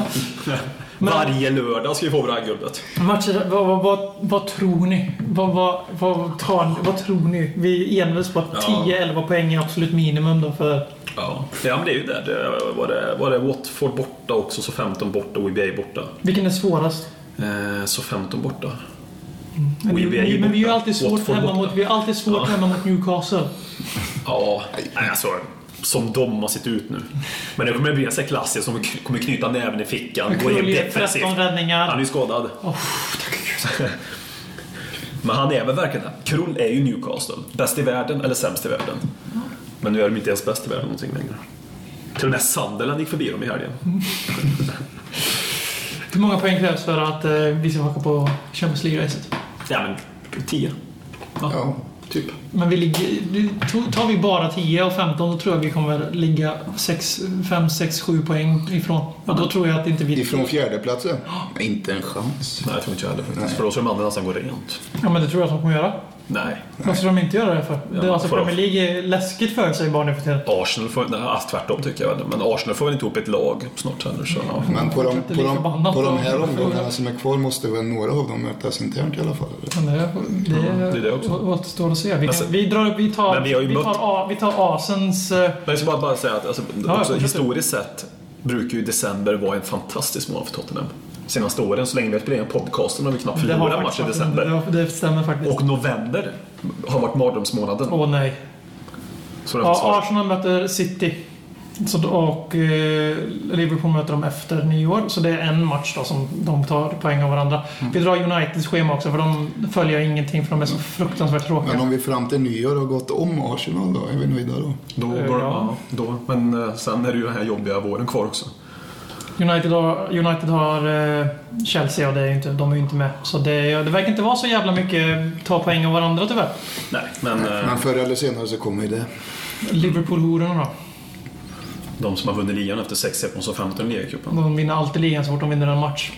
Varje lördag ska vi få bra guldet.
Matcher, vad, vad, vad, vad tror ni? Vad, vad, vad, tar, ni- vad tror ni? Vi enades på att
Ja.
10-11 poäng är absolut minimum då för...
Ja, ja men det är ju det. det var, det var det Watford borta också, så 15 borta och EBA borta.
Vilken är svårast?
Eh, så 15 borta.
Men
Och
vi,
vi är ju
men vi är ju
borta.
alltid svårt
Watford
hemma
borta.
mot, vi är alltid svårt
Ja.
hemma mot Newcastle.
Ja, nej, alltså som de har sett ut nu. Men det kommer bli en sån här klassiker som kommer knyta näven i fickan. Gå in
Kulle,
defensivt.
13
Han är
räddningar.
ju skadad. Men han är väl verkligen det. Krull är ju Newcastle. Bäst i världen eller sämst i världen. Men nu är de inte ens bäst i världen någonting längre. Till och med Sunderland gick förbi dem i helgen.
Hur många poäng krävs för att eh, vi ska haka på Champions League-racet?
Ja, men 10.
Ja, typ.
Men vi ligger, tar vi bara 10 och 15 då tror jag vi kommer ligga 6, 5, 6, 7 poäng ifrån. Och då tror jag att inte vi...
Ifrån fjärdeplatsen? Inte en chans.
Nej, jag tror inte jag heller faktiskt. För då ska de andra nästan gå rent.
Ja men det tror jag att de kommer göra.
Nej.
Varför ska de inte göra det för?
Ja,
det, alltså
får de-
Premier League är läskigt förutsägbart nu för tiden.
Arsenal får... Nej, alltså, tvärtom tycker jag. väl. Men Arsenal får väl inte ihop ett lag snart heller. Så, ja.
Men på de,
Det är
på, de,
förbannat
på de här
bra.
omgångarna som är kvar måste väl några av dem mötas internt i alla fall? eller?
Men det, det,
det är det också.
å- återstår att se. Vi, kan,
sen-
vi, drar, vi tar,
Men vi har ju
tar,
mött-
A- vi tar Asens... eh,
Men jag ska bara, bara säga att alltså,
jag
också,
fortsätter.
historiskt sett brukar ju december vara en fantastisk månad för Tottenham. Senaste åren, så länge vi har spelat in podcasten, har vi knappt
det har
förlorat en match
faktiskt
i
varit-
december.
Det, det stämmer faktiskt.
Och november har varit mardrömsmånaden.
Åh nej.
Så det har
Ja,
ja,
Arsenal möter City. Så, och eh, Liverpool möter dem efter nyår. Så det är en match då som de tar poäng av varandra. Vi drar Uniteds schema också för de följer ingenting för de är så fruktansvärt tråkiga.
Men om vi fram till nyår har gått om Arsenal då, är vi nöjda då?
då,
eh,
går,
ja.
ja. då, Men eh, sen är det ju den här jobbiga våren kvar också.
United har, United har eh, Chelsea och det är ju inte, de är ju inte med. Så det, det verkar inte vara så jävla mycket ta poäng av varandra tyvärr.
Nej, men eh,
Men förr eller senare så kommer ju det.
Liverpool-hororna då.
de som har vunnit ligan efter sex säsonger som 15 i ligacupen.
De vinner alltid ligan så fort de vinner en match.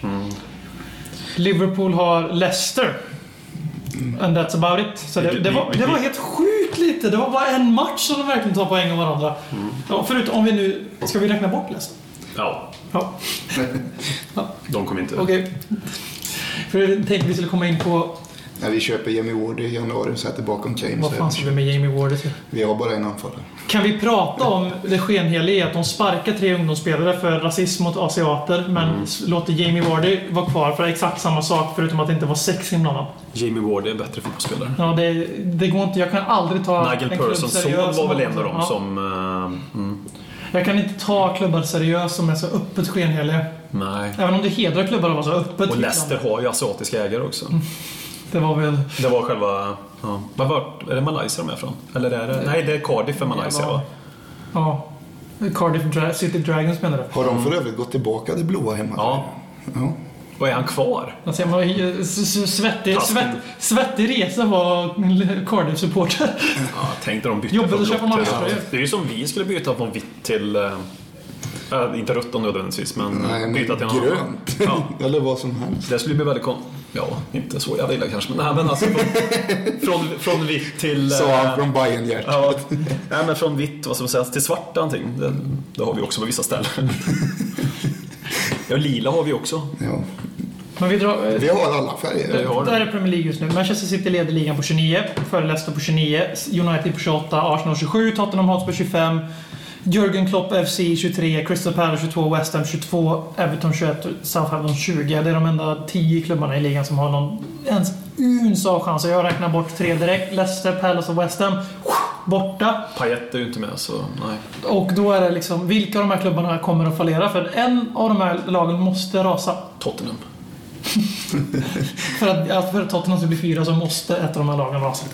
Liverpool har Leicester. And that's about it. Så det,
Vilket-
det, var, det var helt sjukt lite. Det var bara en match som de verkligen tar poäng av varandra. Ja, förutom om vi nu... Ska vi räkna bort Leicester?
Ja,
Ja,
de kommer inte...
okej. För jag tänkte vi skulle komma in på...
När vi köper Jamie Ward i januari och sätter bakom Kane
Vad fan
så
ska vi med Jamie Ward till?
vi har bara en anfallare.
Kan vi prata om det skenheliga i att de sparkar tre ungdomsspelare för rasism mot asiater men s- låter Jamie Vardy vara kvar för exakt samma sak förutom att det inte var sex inblandad?
Jamie Ward är en bättre fotbollsspelare.
Ja, det, det går inte. Jag kan aldrig ta
Nigel
en klubb
Persons son
seriös som-
var väl en av dem
ja.
som... eh, mm,
Jag kan inte ta klubbar seriöst som är så öppet skenheliga.
nej.
Även om det hedrar klubbar att vara så öppet.
Och
liksom.
Leicester har ju asiatiska ägare också.
Mm. Det var väl...
Det var själva... Ja. Var, var, är det Malaysia de är från? Eller är det, nej, det är Cardiff för Malaysia va?
Ja. Cardiff Dra- City Dragons menar du?
Har de för övrigt gått tillbaka det blåa hemma?
Ja.
ja.
Och är han kvar?
Alltså, man, s- s- svettig,
Taskigt.
svett, svettig resa var Cardiff-supporter.
Ja, tänk när de bytte
Jobbigt
från
att köpa
blått
Malaysia,
till-
ju.
Det är ju som vi skulle byta från vitt till... eh, eh, inte rött om nödvändigtvis, men
Nej, men
byta till någon annan.
grönt.
Ja.
Eller vad som helst.
Det skulle bli väldigt kon... Ja, inte så jävla illa kanske, men, nej, men alltså från, från, från vitt till... eh,
Sa han från bayern hjärtat
Ja, nej, men från vitt vad som sägs, till svart någonting. Det, det har vi också på vissa ställen. Ja, lila har vi också.
ja.
Men vi drar... eh,
Vi har alla färger.
Vi har
Det här
det.
är Premier League just nu. Manchester City leder ligan på 29, före Leicester på 29, United på 28, Arsenal 27, Tottenham Hotspur 25, Jürgen Klopp FC 23, Crystal Palace 22, West Ham 22, Everton 21, Southampton 20. Det är de enda 10 klubbarna i ligan som har någon ens uns av chans. Jag räknar bort tre direkt. Leicester, Palace och West Ham. Borta.
Payet är ju inte med, så nej.
Och då är det liksom, vilka av de här klubbarna kommer att fallera? För en av de här lagen måste rasa.
Tottenham.
för att, att för att Tottenham ska bli fyra så måste ett av de här lagen rasa.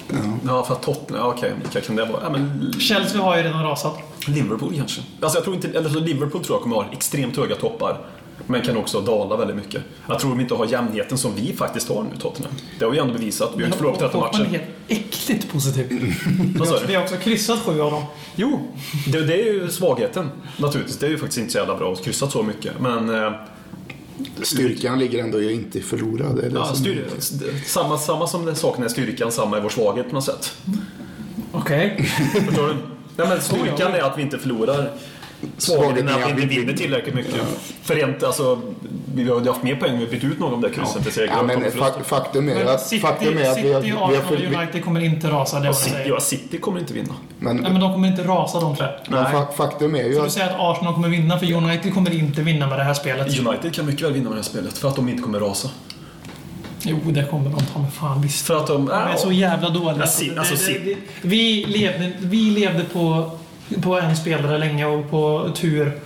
Ja, för att Tottenham, ja, okej, vilka kan det vara? Ja, men
Chelsea har ju redan rasat.
Liverpool kanske. Alltså jag tror inte, eller så Liverpool tror jag kommer ha extremt höga toppar. Men kan också dala väldigt mycket. Jag tror de inte har jämnheten som vi faktiskt har nu, Tottenham. Det har vi ändå bevisat. Vi har inte förlorat 13
Tottenham är
matcher. Mm.
helt äckligt positiv.
Vad sa
Vi
du?
har också kryssat sju av dem.
Jo, det, det är ju svagheten naturligtvis. Det är ju faktiskt inte så jävla bra att kryssa så mycket. Men eh,
Styrkan ligger ändå i att inte förlora. Det är det
ja,
som-
styr, samma, samma som det saknar styrkan, samma är vår svaghet på något sätt.
Okej.
Förstår du? Nej, men styrkan är att vi inte förlorar. Svagheten är att vi inte vinner tillräckligt mycket. För rent, alltså, vi har ju haft mer poäng om vi bytt ut någon av de där kryssen till segrar.
Ja,
och
men
tagit förluster.
fak- faktum är
Men
att,
City,
faktum är att vi har,
City,
vi
Arsenal
har
och
följt...
United kommer inte rasa, det jag
City,
säger.
ja, City kommer inte vinna.
Men,
Nej, men de kommer inte rasa de tre.
men fa- faktum är ju
Du
att...
säger att Arsenal kommer vinna, för United kommer inte vinna med det här spelet.
United kan mycket väl vinna med det här spelet för att de inte kommer rasa.
Jo, det kommer de ta mig fan visst.
För att de...
De är så jävla dåliga.
Ja, si- alltså, si-
det, det, vi levde, vi levde på, på en spelare länge och på tur.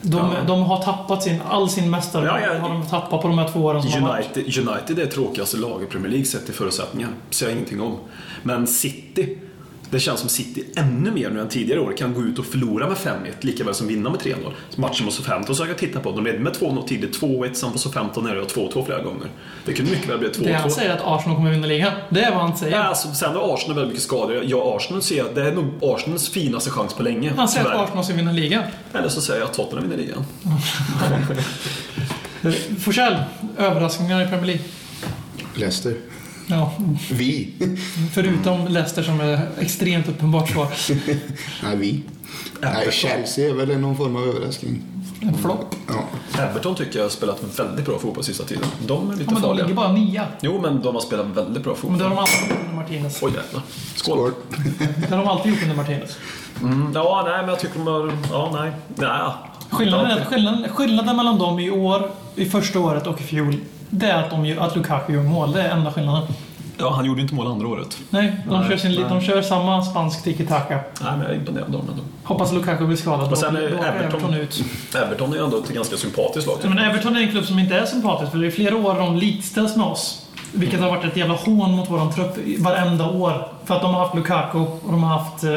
De, de har tappat sin, all sin mästare.
Ja, ja.
har de tappat på de här två åren som har varit.
United, United är det tråkigaste laget i Premier League sett till förutsättningar. Det säger jag ingenting om. Men City, det känns som City ännu mer nu än tidigare år kan gå ut och förlora med 5-1 lika väl som vinna med 3-0. Matchen mot Southampton som jag titta på, de ledde med 2-0 tidigt, 2-1, sen var Southampton nära och 2-2 flera gånger. Det kunde mycket väl bli 2-2.
Det han säger är alltså- att Arsenal kommer vinna ligan. Det är vad han säger.
Nej, Alltså, sen har Arsenal väldigt mycket skador. Ja, Arsenal ser jag, det är nog Arsenals finaste chans på länge.
Han säger
tyvärr.
att Arsenal ska vinna ligan.
Eller så säger jag att Tottenham vinner ligan.
Forsell, överraskningar i Premier League.
Leicester.
Ja,
Vi.
förutom Leicester som är extremt uppenbart svar.
Nej, vi. Nej, Chelsea är väl någon form av överraskning.
En flopp.
Ja.
Everton tycker jag har spelat väldigt bra fotboll sista tiden. De är lite
Ja, men de
farliga.
ligger bara nia.
Jo, men de har spelat väldigt bra fotboll.
Men det har de alltid gjort under Martinez.
Oj jävlar. Skål. Mm.
Skål.
Det har de alltid gjort under Martinez.
Ja, nej, men jag tycker de har... Ja, nej. Nej.
Skillnaden, är, skillnaden, skillnaden mellan dem i år, i första året och i fjol, det är att, de, gör- att Lukaku gör mål. Det är enda skillnaden.
Ja, han gjorde inte mål andra året.
Nej, de,
Nej,
kör, sin,
nej.
de kör samma spansk tiki-taka.
Nej, men jag är imponerad av dem ändå.
Hoppas Lukaku blir skadad. Då
Och sen är
då åker
Everton,
Everton ut.
Everton är ju ändå ett ganska sympatiskt lag. typ.
Ja, Men Everton är en klubb som inte är sympatisk för det är flera år de likställs med oss. Vilket har varit ett jävla hån mot våran trupp i- varenda år. För att de har haft Lukaku och de har haft eh,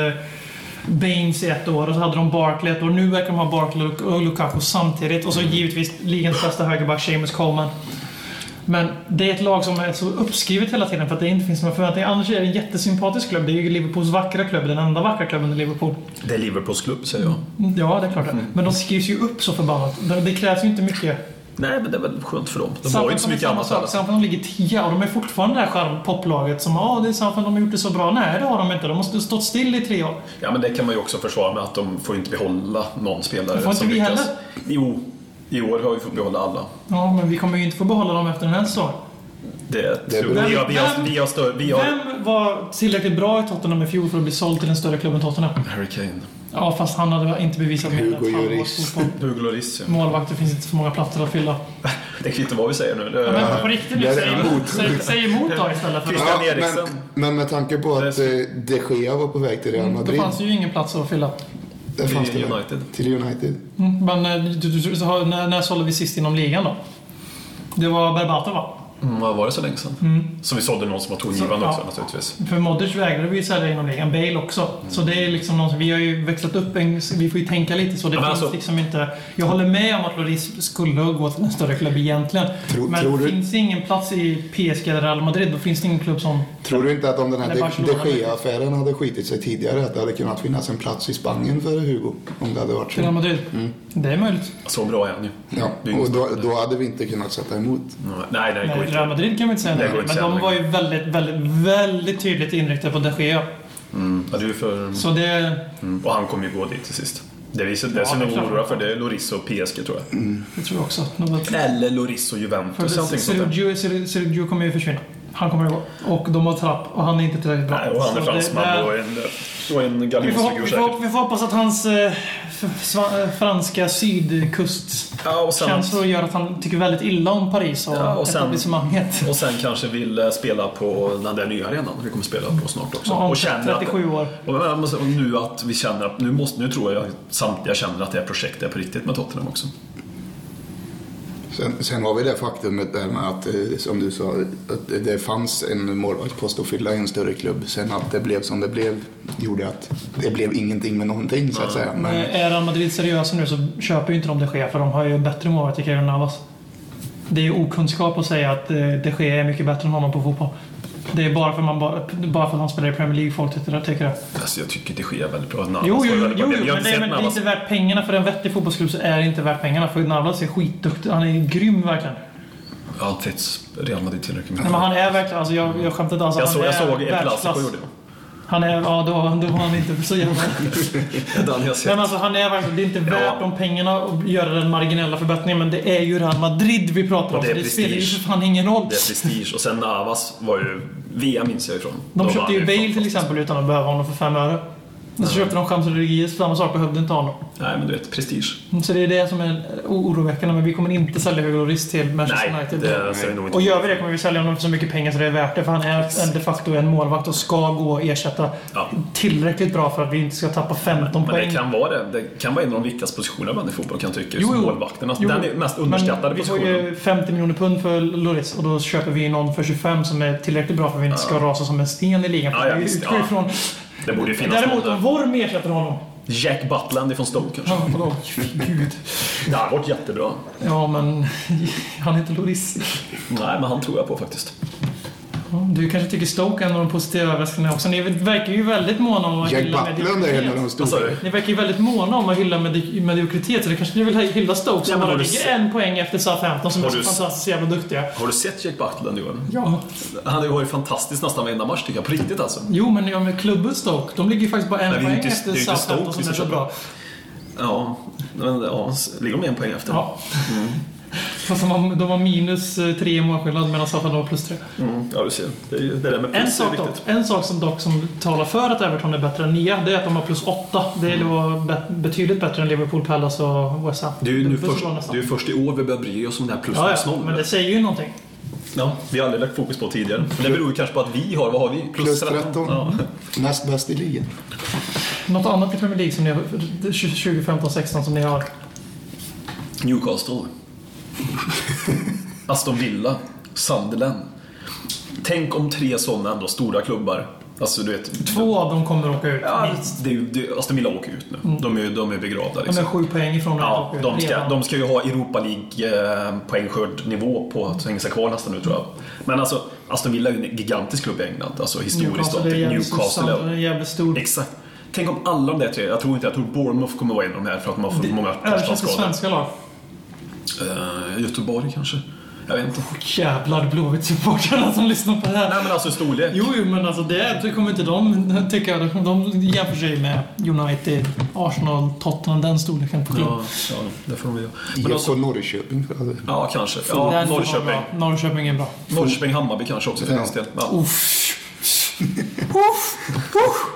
Baines i ett år och så hade de Barkley ett år. Nu verkar de ha Barkley och- och Lukaku samtidigt. Och så givetvis ligans bästa högerback, Seamus Coleman. Men det är ett lag som är så uppskrivet hela tiden för att det inte finns några förväntningar. Annars är det en jättesympatisk klubb. Det är ju Liverpools vackra klubb. Den enda vackra klubben i Liverpool.
Det är Liverpools klubb, säger jag.
Ja, det är klart det. Men de skrivs ju upp så förbannat. Det- Det krävs ju inte mycket.
Nej, men det är väl skönt för dem. De har
Samfund
ju inte så
som är
mycket
samma
annat
sak.
heller.
Samfund de ligger tia och de är fortfarande det här charmpoplaget som ja, det är Samfund, de har gjort det så bra. Nej, det har de inte. De har stått still i tre år.
Ja, men det kan man ju också försvara med att de får inte behålla någon spelare
Det får inte
som
vi
lyckas.
heller.
Jo, i år har vi fått behålla alla.
Ja, men vi kommer ju inte få behålla dem efter den här säsongen.
Det,
Det är
tror jag. Vi har, vi har,
Vem-
vi har större... Vi har...
Vem var tillräckligt bra i Tottenham i fjol för att bli såld till en större klubb än Tottenham?
Harry Kane.
Ja, fast han hade inte bevisat mer än
Hugo
ett halvårs
Lloris.
fotboll.
Hugo Lloris, ja.
Målvakter finns inte för många platser att fylla.
Det kvittar vad vi säger nu. Det,
Men på riktigt nu,
Där är
säg
emot.
emot, säg, säg emot då istället. För
Christian
men,
Eriksen.
men med tanke på att eh, de Gea var på väg till Real
då
Madrid.
Mm, fanns ju ingen plats att fylla.
Där fanns
Till
det väl.
United.
Till United.
Mm, Men eh, du, du, du, så har- när, när sålde vi sist inom ligan då? Det var Berbatov va?
Mm, vad var det så länge sedan? Som vi sålde någon som var tongivande
Mm. Så,
också
ja.
naturligtvis.
För Modric vägrade vi ju sälja inom ligan, Bale också.
Mm.
Så det är liksom något, vi har ju växlat upp en, vi får ju tänka lite så. Det
Men
finns
alltså-
liksom inte... Jag håller med om att Lloris skulle gå till en större klubb egentligen.
Tror-
men
tror du-
finns det ingen plats i PSG eller Real Madrid, då finns det ingen klubb
Mm.
som...
Tror du inte att om den här
Nej,
de,
Barcelona.
de Gea-affären hade skitit sig tidigare att det hade kunnat finnas en plats i Spanien för Hugo? Om det hade varit
Till Real
så.
Madrid.
Mm.
Det är möjligt.
Så bra är han ju.
Ja,
Det är ju
och
inget
då, då hade vi inte kunnat sätta emot.
snack. Nej, nej, det går
Nej, Real
inte.
Madrid kan vi inte säga
Nej,
nej,
det går inte
Men
att
de
säga
var ju väldigt, väldigt, väldigt tydligt inriktade på de
Mm.
Gea.
Ja, du är för...
Så det...
Mm. Och han kommer ju gå dit till sist. Det är vi så- det
Ja,
som
det
vi
är
är
klart.
oroliga för det är Loris och PSG tror
Mm.
jag.
Det tror jag också. Något-
Eller Loris och
För
Juventus. någonting sånt där.
Sergio, Sergio, Sergio kommer ju försvinna. Han kommer ju gå. Och de har Trapp och han är inte tillräckligt bra.
Nej, och han är
Så det-
fransman
det-
och en, och en
vi får, hop-
galjonsfigur
vi, får,
säkert.
hop- vi får hoppas att hans eh, f- sva- eh, franska sydkustkänslor
Ja, och sen,
gör att han tycker väldigt illa om Paris och,
Ja, och sen-
etablissemanget.
och sen kanske vill eh, spela på den där nya arenan vi kommer spela på snart också.
Om
Och känner att...
37 år.
Och jag måste- och nu att vi känner att, nu, måste, nu tror jag samtliga känner att det här projektet är på riktigt med Tottenham också.
Sen, sen har vi det faktumet där med att, eh, som du sa, att det- det fanns en målvaktspost att fylla i en större klubb. Sen att det blev som det blev gjorde att det blev ingenting med någonting så att säga. Men,
Men är Real Madrid seriösa nu så köper ju inte de de Gea för de har ju en bättre målvakt i Kevin Navas. Det är ju okunskap att säga att eh, de Gea är mycket bättre än honom på fotboll. Det är bara för, man bara, bara för att han spelar i Premier League folk tycker tycker det.
Alltså, jag tycker det sker väldigt bra. Navas
Jo,
var
jo, jo,
väldigt
jo
bra.
men
Vi
det
har inte
är,
sett
men det är
Navas.
inte värt pengarna. För en vettig fotbollsklubb så är det inte värt pengarna. För Navas är skitduktig. Han är grym verkligen.
Jag har inte sett Real Madrid tillräckligt mycket.
Nej, men han är verkligen, alltså jag, jag skämtar inte alls.
Jag
Han
såg, jag
är
såg El
världsklass.
Clasico gjorde jag.
Han är, ja då, då var han inte så jävla...
Det är den jag har
Nej, men
sett.
alltså, han är verkligen, det är inte värt de pengarna att göra den marginella förbättringen men det är ju Real Madrid vi pratar om.
Och det
så
är
det spelar ju
prestige.
för fan ingen roll.
Det är prestige. Och sen Navas var ju... VM minns jag ifrån.
De
Då
köpte
vann
ju Bale
fantastiskt.
till exempel utan att behöva honom för fem öre. Men så köpte de James Rodriguez, samma sak, behövde inte honom.
Nej, men du vet, prestige.
Så det är det som är oroväckande, men vi kommer inte sälja Höglorist till Manchester
Nej,
United.
det säger nog inte.
Och gör vi det kommer vi sälja honom för så mycket pengar så det är värt det, för han är en, de facto en målvakt och ska gå och ersätta
Ja.
tillräckligt bra för att vi inte ska tappa 15
Men
poäng.
det kan vara det. Det kan vara en av de viktigaste positionerna bland i fotboll kan jag tycka. Jo, målvakten. Alltså,
Jo,
den
jo.
är mest underskattade
Men vi får
positionen.
ju 50 miljoner pund för Loris och då köper vi någon för 25 som är tillräckligt bra för att vi inte ska rasa som en sten i ligan.
Ja,
För
ja,
vi
visst,
utgår
ja.
ifrån...
Det borde ju finnas
Däremot
någon
om
där.
Worm ersätter honom.
Jack Butland ifrån Stoke kanske.
Ja, vadå? Gud.
Det hade varit jättebra.
Ja, men han heter Loris.
Nej, men han tror jag på faktiskt.
Ja, Du kanske tycker Stoke är en av de positiva överraskningarna också. Ni verkar ju väldigt måna om att
Jack
hylla med
Butland är en av de
Vad sa
stora.
du?
Ni verkar ju väldigt måna om att hylla medi- mediokritet, så det kanske ni vill hylla Stoke
Ja,
som
men
bara
har du
ligger
sett-
en poäng efter SA-15 som är
Har
så
du s-
fantastiskt jävla duktiga.
Har du sett Jack Butland Johan?
Ja.
Han har ju varit fantastisk nästan varenda match tycker jag. På riktigt alltså.
Jo, men ja, men klubben Stoke, de ligger ju faktiskt bara en
Nej, det är ju
poäng
inte-
efter
det är ju inte
Southampton som
Stoke vi
är
ska
så
köpa.
bra.
Ja, men ja, s- ligger de en poäng efter?
Ja. Fast de har, de har minus eh, tre i målskillnad medan Southampton har plus tre.
Mm, ja, du ser. Det, är ju- det där med
En
plus är
sak, dock,
viktigt.
en sak som dock som talar för att Everton är bättre än nia, det är att de har plus åtta. Det är då bet- betydligt bättre än Liverpool, Palace och West Ham.
Det är ju nu
Liverpool
först,
slår
det
nästan.
är ju först i år vi börjar bry oss om det här plus
Ja,
minus
ja,
noll.
men det säger ju någonting.
Ja, vi har aldrig lagt fokus på tidigare. Men det beror ju kanske på att vi har, vad har vi?
Plus
Ja.
13. Näst bäst i ligan.
Något annat i Premier League som ni har, 2015-16 som ni har?
Newcastle. Aston Villa. Sunderland. Tänk om tre sådana ändå stora klubbar. Alltså du vet.
Två av dem kommer åka ut.
Ja,
minst. Mm.
det är ju, det, Aston Villa åker ut nu. De är ju de är begravda
De är
liksom.
sju poäng ifrån att
Ja,
åka ut
de ska,
redan.
de ska ju ha Europa League-poängskörd-nivå på att hänga sig kvar nästan nu tror jag. Men alltså, Aston Villa är ju en gigantisk klubb i England. Alltså historiskt.
Newcastle är
då.
jävligt
Newcastle
stor.
är...
En jävligt stor.
Exakt. Tänk om alla de där tre, jag tror inte, jag tror Bournemouth kommer vara en av de här för att de har för många
Översätt till
korsbandsskador.
svenska lag.
Eh, Göteborg kanske? Jag vet inte.
Jävlar Blåvitt-supportrarna som lyssnar på det här.
Nej men alltså storlek.
Jo, jo, men alltså det det kommer inte de tycka. De jämför sig med United, Arsenal, Tottenham, den storleken på klubb.
Ja, ja, det får de göra. Men
IFK
alltså,
Norrköping. för all del.
ja, kanske.
Den får
Ja,
vara
Norrköping.
bra. Norrköping är bra.
Norrköping, Hammarby kanske också för
Ja.
den del. Ja.
Uff. Uff. Uff.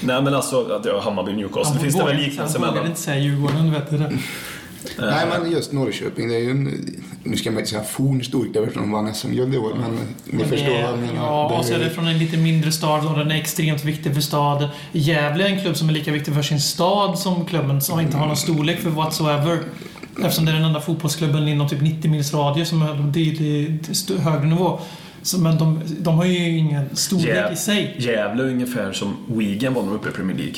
Nej men alltså, att det är Hammarby och Newcastle.
Han
finns det väl
vågade-
liknelse
Han vågade
mellan?
inte säga Djurgården, vet du det.
Nej, men just Norrköping, det är ju en... Nu ska man inte säga fornstork, det var som vann SM-guld i år, men ni förstår vad jag menar. Det
Ja,
är
och så är det
ju-
från en lite mindre stad och den är extremt viktig för staden. Gävle är en klubb som är lika viktig för sin stad som klubben som inte har någon storlek för whatsoever. Eftersom det är den enda fotbollsklubben inom typ 90 mils radie som är på tydlig- st- högre nivå. Så, men de, de har ju ingen storlek
Jä-
i sig.
Gävle är ungefär som Wigan var när de var uppe i Premier League.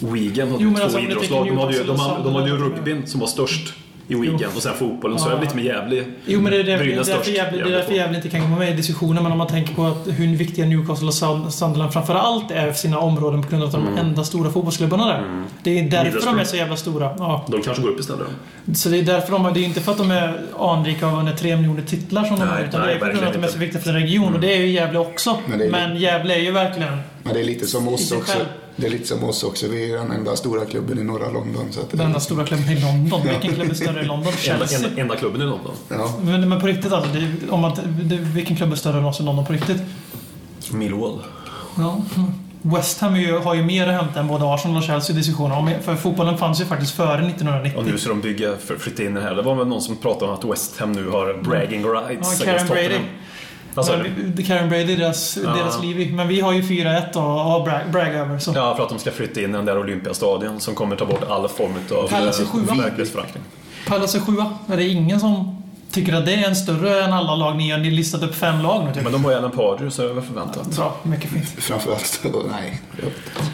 Wigan hade
Jo, men
ju två
alltså, om du
idrottslag.
tänker
De hade ju,
Newcastle
de,
och
hade- de hade ju
Sunderland.
rugbyn som var störst i Wigan och sen fotbollen. Så
Ja.
är det lite med Gävle.
Jo, men det är därför, det är
Brynäs
därför,
störst,
Gävle, det är
Gävle
därför
två.
Gävle inte kan komma med i diskussionen. Men om man tänker på att hur viktiga Newcastle och Sun- Sunderland framför allt är för sina områden på grund av att de är de enda stora fotbollsklubbarna där.
Mm.
Det är därför de är så jävla stora. Ja.
De kanske går upp istället.
Så det är därför de har, det är inte för att de är anrika och har vunnit 3 miljoner titlar som de
Nej,
har utan
nej,
det är för grund av att de är
verkligen
så viktiga för en region och det är ju Gävle också.
Men det är-
Men, Gävle är ju verkligen
Men det är lite som
I
oss
sig
också.
själv.
Det är lite som oss också. Vi är den enda stora klubben i norra London. Så att,
den enda stora klubben i London. Vilken klubb är större i London?
Enda,
Chelsea.
enda, enda klubben i London.
Ja.
Men, men på riktigt alltså, det är, om man, det, vilken klubb är större än oss i London på riktigt?
Millwall.
Ja. mm. West Ham är ju, har ju mer att hämta än både Arsenal och Chelsea i diskussionen. Om- För fotbollen fanns ju faktiskt före 1990.
Och nu ska de bygga, för, flytta in den här. Det var väl någon som pratade om att West Ham nu har bragging rights
Mm. Ja, Karen Brady.
Vad sa
Men
du?
vi- Karen Brady, deras, deras liv. Men vi har ju 4-1 och, och brag, brag över. Så.
Ja, för att de ska flytta in den där Olympiastadion som kommer ta bort all form av
Palace är
eh,
sjua.
verklighetsförankring.
Palace är sjua. Är det ingen som tycker att det är en större än alla lag ni gör? Ni har listat upp fem lag nu typ.
Men de har ju Alan Pardew så det är väl förväntat.
Bra, mycket fint.
Framförallt, nej.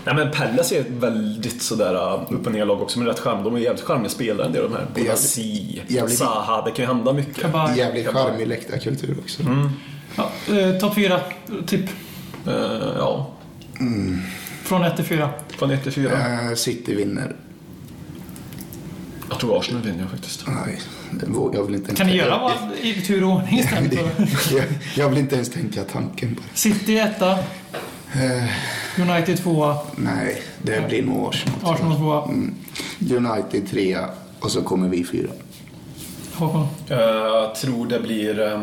Nej men Pallas är ett väldigt sådär uh, upp och ner lag också, men rätt charm. De är jävligt charmiga spelare en del av de här. Bonasi,
jävligt-
Zaha, det kan ju hända mycket.
Kabaj.
Jävligt charmig läktarkultur också.
Mm. Ja, eh, Topp fyra, typ.
Eh, ja,
Från 1 till 4.
från 1 till 4.
Eh, City vinner.
Jag tror Arsenal vinner faktiskt.
Nej, det vågar- jag vill inte ens
Kan ni
tänka-
göra vad i tur och ordning istället? för-
jag, jag vill inte ens tänka tanken på det.
City etta. United tvåa.
Nej, det blir nog Arsenal. tror jag.
Arsenal tvåa.
United trea och så kommer vi fyra.
Håkon.
Eh, Jag tror det blir eh,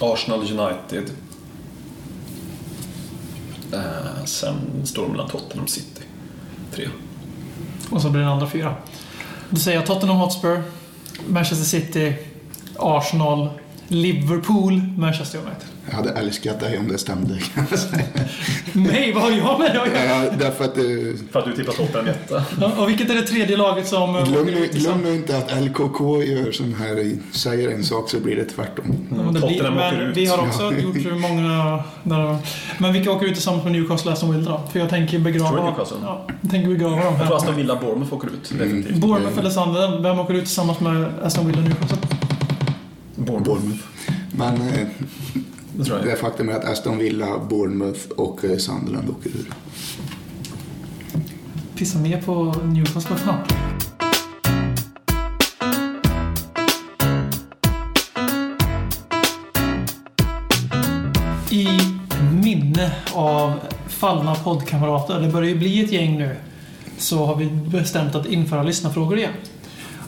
Arsenal United. Eh, sen står de mellan Tottenham City. Tre.
Och så blir den andra fyra. Då säger jag Tottenham Hotspur, Manchester City, Arsenal, Liverpool, Manchester United.
Jag hade älskat dig om det stämde. kan jag säga.
Nej, vad har jag med det att göra?
Ja, Därför att eh,
För att du tippar Tottenham etta.
Ja, Och vilket är det tredje laget som... eh,
glöm,
åker
nu,
ut i sam-
glöm nu inte att LKK gör sån här, säger en sak så blir det tvärtom.
Ja, men det blir-
Tottenham åker
men
ut.
Vi har också gjort många... Där, men vilka åker ut tillsammans med Newcastle Aston Villa då? För jag tänker
Tror
begrava...
du Newcastle?
Ja, jag tänker begrava dem
Jag tror
här.
Aston Villa Bournemouth åker ut.
Mm.
Definitivt.
Bournemouth eller Sunderland, vem åker ut tillsammans med Aston Villa och Newcastle?
Bournemouth.
Men eh,
Det tror jag.
det faktum är att Aston Villa, Bournemouth och eh, Sunderland åker ur.
Pissa mer på Newcastle, vad fan? I minne av fallna poddkamrater, det börjar ju bli ett gäng nu, så har vi bestämt att införa lyssnarfrågor igen.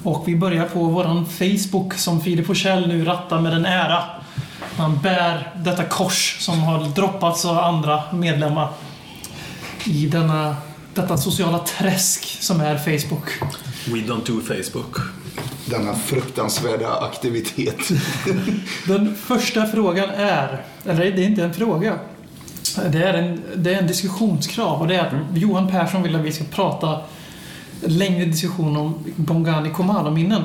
Och vi börjar på våran Facebook som Filip Forsell nu rattar med den ära. Han bär detta kors som har droppats av andra medlemmar i denna, detta sociala träsk som är Facebook.
We don't do Facebook.
Denna fruktansvärda aktivitet.
Den första frågan är, eller det är inte en fråga. Det är en, det är en diskussionskrav och det är
Mm.
att Johan Persson vill att vi ska prata längre diskussion om Bongani Komala-minnen.